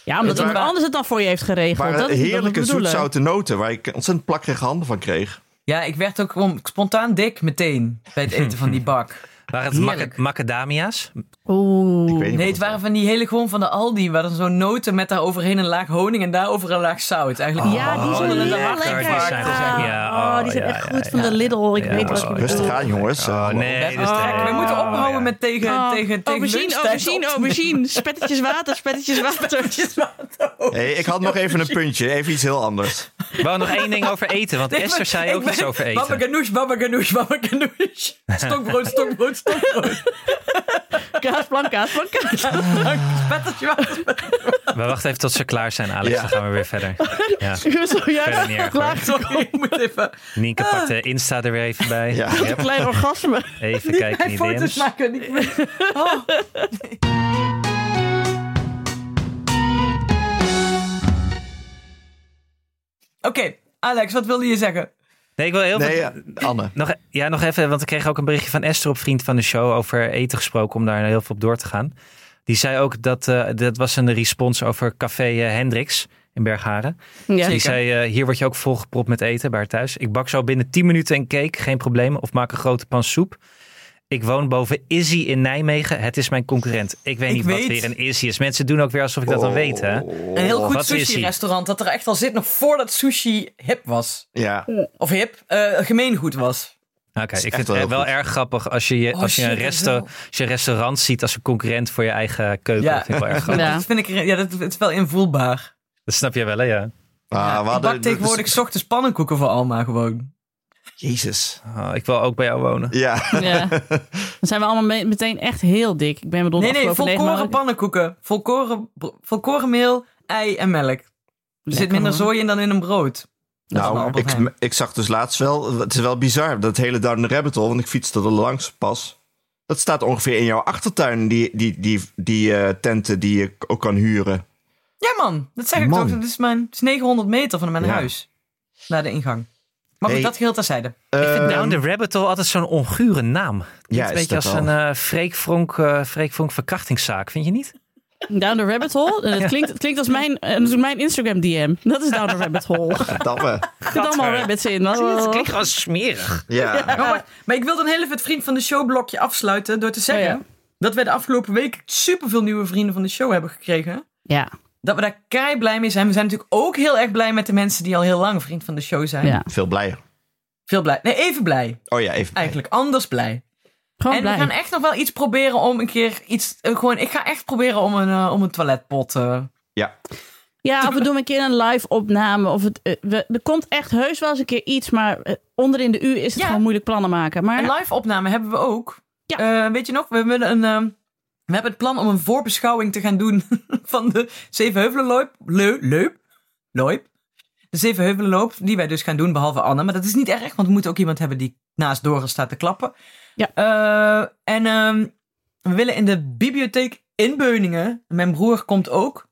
Ja, omdat Het iemand waren- anders het dan voor je heeft geregeld. Maar dat is niet wat we heerlijke bedoelen. zoetzouten noten waar ik ontzettend plakkerige handen van kreeg. Ja, ik werd ook gewoon spontaan dik meteen bij het eten van die *laughs* bak. Waren het maca- Heerlijk. macadamia's? Ik Oeh. weet niet Nee, wat het waren van die hele gewoon van de Aldi, waar dan zo'n noten met daar overheen een laag honing en daarover een laag zout. Eigenlijk Ja, die zijn Oh, heel dat lekker. mag die zijn Ah, gezegd, ja. oh, die zijn Ja, echt ja, goed ja, van de Lidl. Ik Ja, weet wat maar je het- bedoelt. Rustig aan jongens. Oh, Hallo. nee, dat is Oh, te- we moeten oh, ophouden ja. met tegen, Oh, tegen, tegen aubergine, lunchtijd oh, aubergine, op te aubergine. Spettetjes water, spettetjes water. *laughs* Hey, ik had nog even een puntje, even iets heel anders. Ik wou nog één ding over eten, *laughs* want Esther zei ook iets over eten. Baba ganoush, baba ganoush, baba ganoush. *laughs* Stokbrood, stokbrood, stokbrood. Kaasplank, kaasplank, *laughs* kaasplank. Spettertje water. We wachten even tot ze klaar zijn, Alex. Ja. Dan gaan we weer *laughs* verder. Ja. Ik ben Verder niet erg, zojuist hoor. klaar. Sorry, ik moet even... Nienke pakt de Insta er weer even bij. Ah. Ja. Wat een klein orgasme. Even Niet kijken mijn in foto's de DM's. maken. Niet mijn- Oh. Oké, Alex, wat wilde je zeggen? Nee, ik wil heel Nee, veel... ja, Anne. Nog, ja, nog even, want ik kreeg ook een berichtje van Esther op Vriend van de Show over eten gesproken, om daar heel veel op door te gaan. Die zei ook dat, eh, dat was een respons over Café eh, Hendricks in Bergharen. Ja. Die zei, eh, hier word je ook volgepropt met eten bij haar thuis. Ik bak zo binnen 10 minuten een cake, geen probleem. Of maak een grote pan soep. Ik woon boven Izzy in Nijmegen. Het is mijn concurrent. Ik weet Ik niet wat weet- weer een Izzy is. Mensen doen ook weer alsof ik Oh. dat dan weet. Hè? Nou, Een heel goed Oh, Wat is die? sushi-restaurant dat er echt al zit nog voordat sushi hip was. Ja. Ah, Of hip, eh, gemeengoed was. Oké, is ik echt vind wel het heel wel goed. erg grappig als je, je- Oh, als, je een shit, dat resta- wel. als je een restaurant ziet als een concurrent voor je eigen keuken. Ja. Dat vind ik wel erg *laughs* grappig. Ja. Dat vind ik, ja, dat, het is wel invoelbaar. Dat snap je wel, hè? Ja. Ah, Ja, we ik hadden- dus- bak tegenwoordig s ochtends pannenkoeken voor Alma gewoon. Jezus. Oh, ik wil ook bij jou wonen. Ja. Ja. Dan zijn we allemaal me- meteen echt heel dik. Ik ben bedoeld Nee, nee, afgelopen negen volkoren maanden- pannenkoeken. Volkoren, bro- volkoren meel, ei en melk. Er zit Lekker, minder hoor. zooi in dan in een brood. Dat is een Nou, Albert ik, Heijn. ik zag dus laatst wel, het is wel bizar, dat hele Down the Rabbit Hole, want ik fietste er langs pas. Dat staat ongeveer in jouw achtertuin, die, die, die, die eh, tenten die je ook kan huren. Ja man, dat zeg ik Man. toch. Dat is, mijn, het is 900 meter van mijn Ja. huis. Naar de ingang. Maar goed, Hey. dat geheel terzijde. Ik vind Ehm, *laughs* Down the Rabbit Hole altijd zo'n ongure naam. Ja, Ja, een is beetje dat als wel. een eh Freek Vonk, eh, Freek Vonk verkrachtingszaak, vind je niet? Down the rabbit hole. En Het klinkt, het klinkt als mijn, eh, natuurlijk mijn Instagram DM. Dat is down the rabbit *laughs* hole. Er Damme. zitten allemaal rabbits in. Het Oh. klinkt gewoon smerig. Ja. Maar, wacht, Ah, maar ik wil dan heel even het vriend van de show blokje afsluiten door te zeggen Oh ja. dat wij de afgelopen week superveel nieuwe vrienden van de show hebben gekregen. Ja, Dat we daar kei blij mee zijn. We zijn natuurlijk ook heel erg blij met de mensen die al heel lang vriend van de show zijn. ja. Veel blijer. Veel blij. Nee, even blij. Oh ja, even. Eigenlijk anders blij. Gewoon en blij. we gaan echt nog wel iets proberen om een keer iets. eh, gewoon, ik ga echt proberen om een, eh, om een toiletpot. eh. Ja. *laughs* Ja, of we doen een keer een live opname. Of het, eh, we, er komt echt heus wel eens een keer iets. Maar eh, onder in de U is het Ja. gewoon moeilijk plannen maken. Maar Een live opname hebben we ook. Ja. Eh, weet je nog, we, willen een, eh, we hebben het plan om een voorbeschouwing te gaan doen *laughs* van de Zevenheuvelenloop. Leu- Leup? Loip? De Zevenheuvelenloop, die wij dus gaan doen, behalve Anne. Maar dat is niet erg, want we moeten ook iemand hebben die naast Doris staat te klappen. Ja. Eh, en ehm, we willen in de bibliotheek in Beuningen. Mijn broer komt ook.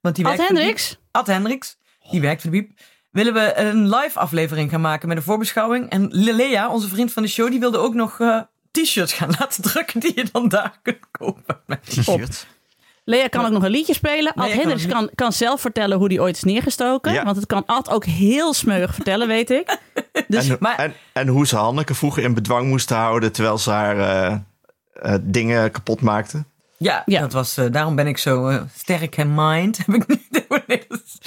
Want die Ad werkt voor de Hendricks? Biep. Ad Hendricks, Oh. die werkt voor de Biep. Willen we een live aflevering gaan maken met een voorbeschouwing. En Le- Lea, onze vriend van de show, die wilde ook nog eh, t-shirts gaan *laughs* laten drukken die je dan daar kunt kopen. T-shirt. Lea kan ook nog een liedje spelen. Ad Lea kan Hendricks een lied- kan, kan zelf vertellen hoe die ooit is neergestoken. Ja. Want het kan Ad ook heel smeug vertellen, *laughs* weet ik. Dus, En, maar en, en hoe ze Hanneke vroeger in bedwang moesten houden terwijl ze haar eh, eh, dingen kapot maakte. ja, Ja. Dat was, eh, daarom ben ik zo eh, sterk in mind. *laughs* Heb ik niet. Nee, dat is-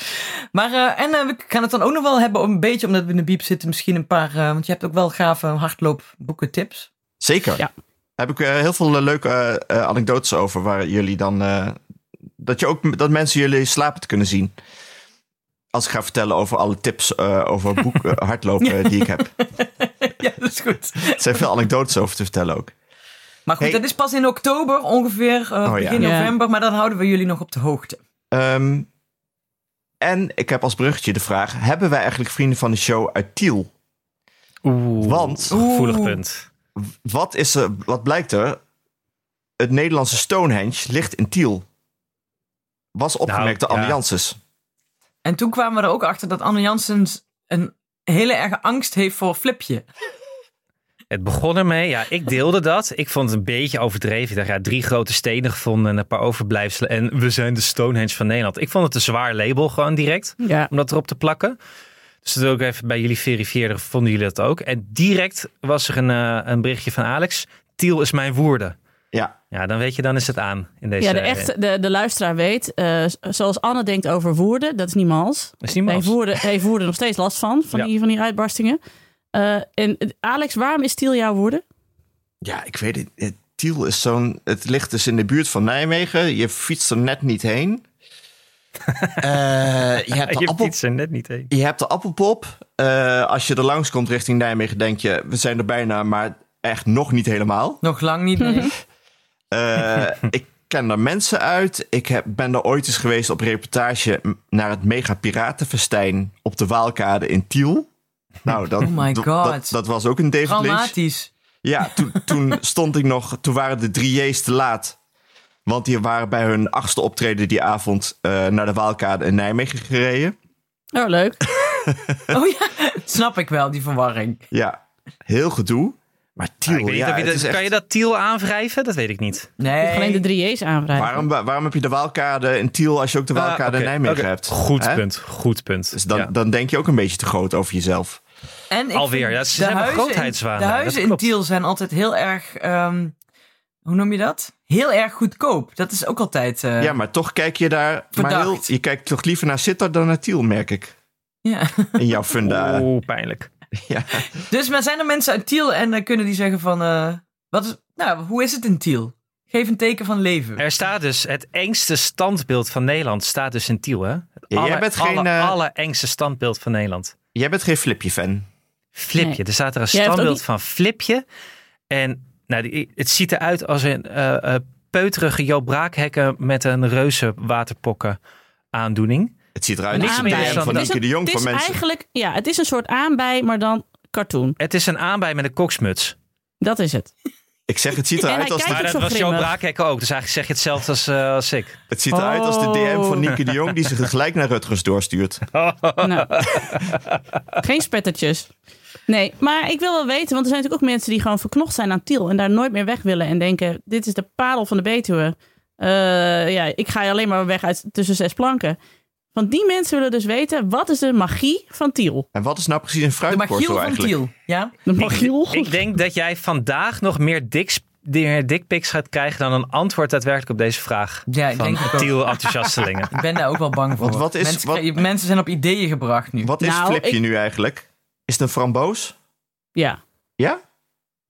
maar eh, en eh, we gaan het dan ook nog wel hebben, om een beetje omdat we in de biep zitten, misschien een paar. eh, want je hebt ook wel gave hardloopboeken tips. Zeker. Ja. Heb ik eh, heel veel eh, leuke eh, eh, anekdotes over waar jullie dan. eh, dat, je ook, dat mensen jullie slapend kunnen zien. Als ik ga vertellen over alle tips eh, over *laughs* boek, eh, hardlopen eh, die ik heb. *laughs* ja, dat is goed. Er zijn veel anekdotes over te vertellen ook. Maar goed, Hey. dat is pas in oktober ongeveer, eh, Oh ja. begin Ja. november. Maar dan houden we jullie nog op de hoogte. Ehm, en ik heb als bruggetje de vraag: hebben wij eigenlijk vrienden van de show uit Tiel? Oeh, Want gevoelig Oeh. punt. wat, is er, wat blijkt er? Het Nederlandse Stonehenge ligt in Tiel. Was opgemerkt door Nou, ja. Anne Janssens. En toen kwamen we er ook achter dat Anne Janssens een hele erge angst heeft voor Flipje. Het begon ermee, ja, ik deelde dat. Ik vond het een beetje overdreven. Ik dacht, ja, drie grote stenen gevonden en een paar overblijfselen. En we zijn de Stonehenge van Nederland. Ik vond het een zwaar label gewoon direct. Ja. om dat erop te plakken. Dus dat wil ik even bij jullie verifiëren. Vonden jullie dat ook? En direct was er een, eh, een berichtje van Alex. Tiel is mijn woorden. Ja, Ja, dan weet je, dan is eh, het aan. In deze, Ja, de, echte, de, de luisteraar weet, eh, zoals Anne denkt over woorden, dat is niet mals. Is niet mals. Heeft woorden, heeft woorden nog steeds last van, van, Ja. die, van die uitbarstingen. Eh, en eh, Alex, waarom is Tiel jouw woorden? ja ik weet het. Eh, Tiel is zo'n. Het ligt dus in de buurt van Nijmegen. Je fietst er net niet *laughs* heen. Eh, je hebt de Je appel- fietst er net niet heen. Je hebt de appelpop. Eh, als je er langs komt richting Nijmegen, denk je, we zijn er bijna, maar echt nog niet helemaal. Nog lang niet. Mhm. nee. *laughs* Eh, ik ken daar mensen uit. Ik heb, ben er ooit eens geweest op reportage m- naar het Mega Piratenfestijn op de Waalkade in Tiel. Nou, dat, Oh my dat- God. Dat, dat was ook een David Lynch. Traumatisch. Ja, toen, toen stond ik nog, toen waren de drieërs te laat. Want die waren bij hun achtste optreden die avond eh, naar de Waalkade in Nijmegen gereden. Oh, leuk. Oh ja, *laughs* snap ik wel, die verwarring. Ja, heel gedoe. Maar Tiel, Nou, Ik weet niet ja, of je het dat- is echt- Kan je dat Tiel aanwrijven? Dat weet ik niet. Je hoeft Nee. alleen de drie J's aanvragen. waarom, waarom heb je de Waalkade in Tiel als je ook de Waalkade Ah, oké, in Nijmegen oké. hebt? Goed Hè? punt, goed punt. Dus dan, Ja. dan denk je ook een beetje te groot over jezelf. En ik Alweer, vind ja, ze de zijn wel huizen in- grootheidswaande, De dat huizen in klopt. Tiel zijn altijd heel erg, ehm, hoe noem je dat? Heel erg goedkoop. Dat is ook altijd... eh, Ja, maar toch kijk je daar. Maar heel, Verdacht. je kijkt toch liever naar Sittard dan naar Tiel, merk ik. ja. *laughs* In jouw funda. Oeh, pijnlijk. Dus maar zijn er mensen uit Tiel en dan kunnen die zeggen van... eh, wat is, nou, hoe is het in Tiel? Geef een teken van leven. Er staat dus het engste standbeeld van Nederland staat dus in Tiel, hè? Het jij aller- bent geen, alle, eh, engste standbeeld van Nederland. Jij bent geen Flipje-fan. Flipje. Nee. Er staat er een Jij hebt ook standbeeld niet- van Flipje. En nou, die, het ziet eruit als een eh, eh, peuterige Joop Braakhekken met een reuze waterpokken aandoening. Het ziet eruit Niks als een meer DM dan van dat. Nieke de Jong het voor is mensen. eigenlijk, ja, het is een soort aanbij, maar dan cartoon. Het is een aanbij met een koksmuts. Dat is *laughs* het. Ik zeg, het ziet En hij eruit als kijkt Maar ook de, dat zo was Joop grimmig. Braakhekken ook. Dus eigenlijk zeg je hetzelfde als, eh, als ik. het ziet eruit als de DM van Nieke de Jong die ze gelijk naar Rutgers doorstuurt. Nou. Geen spettertjes. Nee, maar ik wil wel weten, want er zijn natuurlijk ook mensen die gewoon verknocht zijn aan Tiel en daar nooit meer weg willen en denken: dit is de parel van de Betuwe. Eh, ja, ik ga hier alleen maar weg uit tussen zes planken. Want die mensen willen dus weten: wat is de magie van Tiel? En wat is nou precies een de Magiel fruitkortel van eigenlijk? Tiel. Ja? De magie. Ik denk dat jij vandaag nog meer diks- meer dickpics gaat krijgen dan een antwoord daadwerkelijk op deze vraag. Ja, ik van denk het ook. Tiel *laughs* enthousiastelingen. Ik ben daar ook wel bang voor. Want wat is- mensen, wat- mensen zijn op ideeën gebracht nu. Wat is Nou, Flipje ik- nu eigenlijk? Is het een framboos? Ja, Nou, Ja?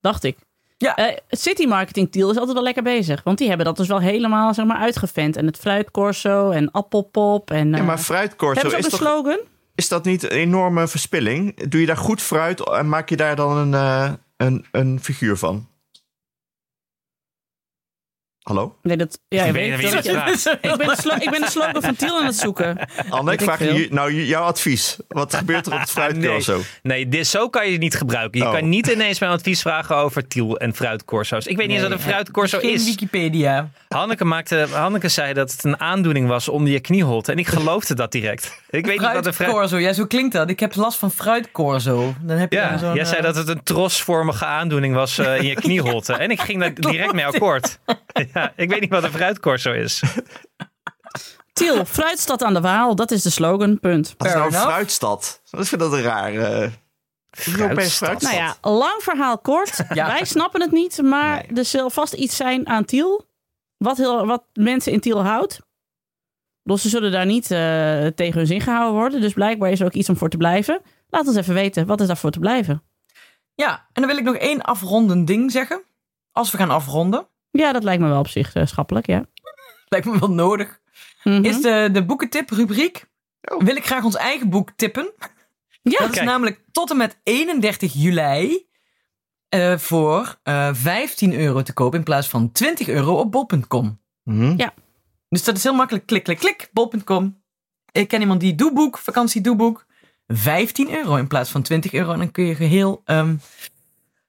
dacht ik. Ja. Eh, het city marketing Tiel is altijd wel lekker bezig, want die hebben dat dus wel helemaal zeg maar uitgevent en het fruitcorso en appelpop en. Ja, eh, maar fruitkortel hebben ze is ook een toch slogan? Is dat niet een enorme verspilling? Doe je daar goed fruit en maak je daar dan een, eh, een, een figuur van? Hallo? Nee, dat. Ja, Ik ik weet weet niet dat wie je- dit vraagt. Ik ben, de slo- ik ben *laughs* de slogan van Tiel aan het zoeken. Anne, ik ik vraag veel. je, nou j- jouw advies. *laughs* Wat gebeurt er op het fruitcorso? Nee, dit, zo kan je het niet gebruiken. Je Oh. kan niet ineens mijn advies vragen over Tiel en fruitcorso's. Ik weet niet eens wat een fruitcorso Geen is. Wikipedia. Hanneke, maakte, Hanneke zei dat het een aandoening was onder je knieholte. En ik geloofde dat direct. Ik weet niet wat een fruit... Fruitcorso. Ja, zo klinkt dat. Ik heb last van fruitcorso. Dan heb je Ja, dan zo'n, jij zei eh, dat het een trosvormige aandoening was eh, in je *laughs* knieholte. En ik ging daar direct mee akkoord. *laughs* Ja, ik weet niet wat een fruitcorso is. *laughs* Tiel, fruitstad aan de Waal, dat is de slogan, punt. Wat is nou een enough. fruitstad? Ik vind dat een raar... eh, hoezo ben je Fruitstad. Nou ja, lang verhaal *laughs* kort. Ja. Wij snappen het niet, maar er zal vast iets zijn aan Tiel. Wat, heel, wat mensen in Tiel houdt. Dus ze zullen daar niet eh, tegen hun zin gehouden worden. Dus blijkbaar is er ook iets om voor te blijven. Laat ons even weten, wat is daarvoor te blijven? Ja, en dan wil ik nog één afrondend ding zeggen. Als we gaan afronden, Ja, dat lijkt me wel op zich eh, schappelijk, ja. lijkt me wel nodig, Mhm. Oh. is de, de boekentip rubriek. Wil ik graag ons eigen boek tippen. Ja. dat is Kijk. namelijk tot en met 31 juli eh, voor eh, 15 euro te koop in plaats van 20 euro op bol.com. mhm. Dus dat is heel makkelijk. Klik, klik, klik, bol.com. Ik ken iemand die doeboek, vakantie doeboek, 15 euro in plaats van 20 euro. En dan kun je geheel ehm,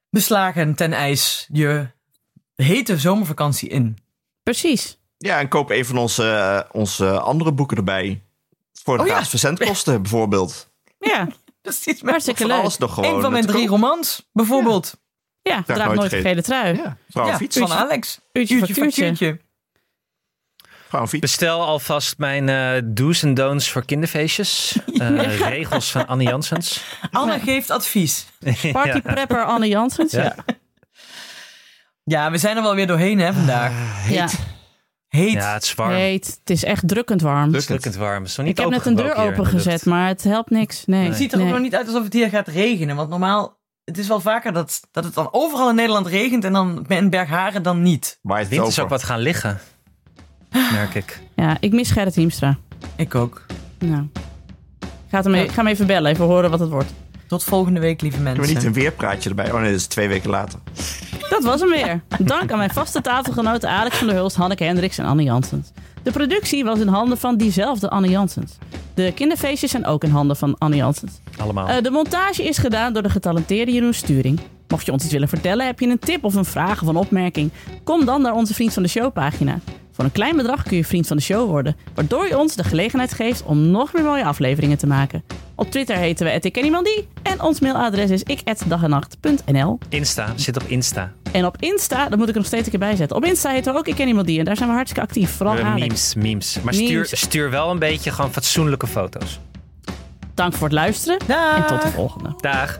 beslagen ten ijs je hete zomervakantie in. *laughs* Precies. Ja, en koop een van onze, eh, onze andere boeken erbij. Voor de Oh ja. gratis *laughs* verzendkosten bijvoorbeeld. Ja, Precies, met hartstikke Van leuk. alles nog gewoon. een van mijn te drie koop. romans, bijvoorbeeld. Ja, draag nooit nooit, vergeten. vergeten trui. Ja, vrouw Ja, en fiets. van Alex. Uurtje factuurtje. Vrouw en fiets. Bestel alvast mijn eh do's en don'ts voor *laughs* kinderfeestjes. Eh, Regels van Annie Janssens. Anne geeft advies. Party Ja. prepper Anne Janssens. Ja. Ja. Ja, we zijn er wel weer doorheen hè, Ah, vandaag. Ja. Heet. Ja, het is warm. Het Heet. Het is echt drukkend warm. is drukkend warm. Het is nog Ik niet heb net een deur opengebroken hier in de opengezet, lucht. maar het helpt niks. Nee. Het ziet er Nee. ook nog niet uit alsof het hier gaat regenen. Want normaal, het is wel vaker dat, dat het dan overal in Nederland regent en dan in Bergharen dan niet. Waar het De wind is over. ook wat gaan liggen. Ah. Merk ik. Ja, ik mis Gerrit Hiemstra. Ik ook. Nou. Ik ga, hem e- ik ga hem even bellen, even horen wat het wordt. Tot volgende week, lieve Kunnen we mensen. niet een weerpraatje erbij? Oh nee, dat is twee weken later. Dat was hem weer. Dank aan mijn vaste tafelgenoten Alex van der Hulst, Hanneke Hendricks en Anne Janssens. De productie was in handen van diezelfde Anne Janssens. De kinderfeestjes zijn ook in handen van Anne Janssens. Allemaal. Eh, de montage is gedaan door de getalenteerde Jeroen Sturing. Mocht je ons iets willen vertellen, heb je een tip of een vraag of een opmerking, kom dan naar onze Vriend van de Show pagina. Voor een klein bedrag kun je Vriend van de Show worden, waardoor je ons de gelegenheid geeft om nog meer mooie afleveringen te maken. Op Twitter heten we @ikkenniemandie en ons mailadres is ik@dagenacht.nl. Insta. Zit op Insta. En op Insta, dat moet ik er nog steeds een keer bij zetten. Op Insta heten we ook Ik Ken Iemand Die. En daar zijn we hartstikke actief. Vooral Eh, Alex. memes, memes. Maar stuur, Memes. stuur wel een beetje gewoon fatsoenlijke foto's. Dank voor het luisteren Daag. en tot de volgende. Dag.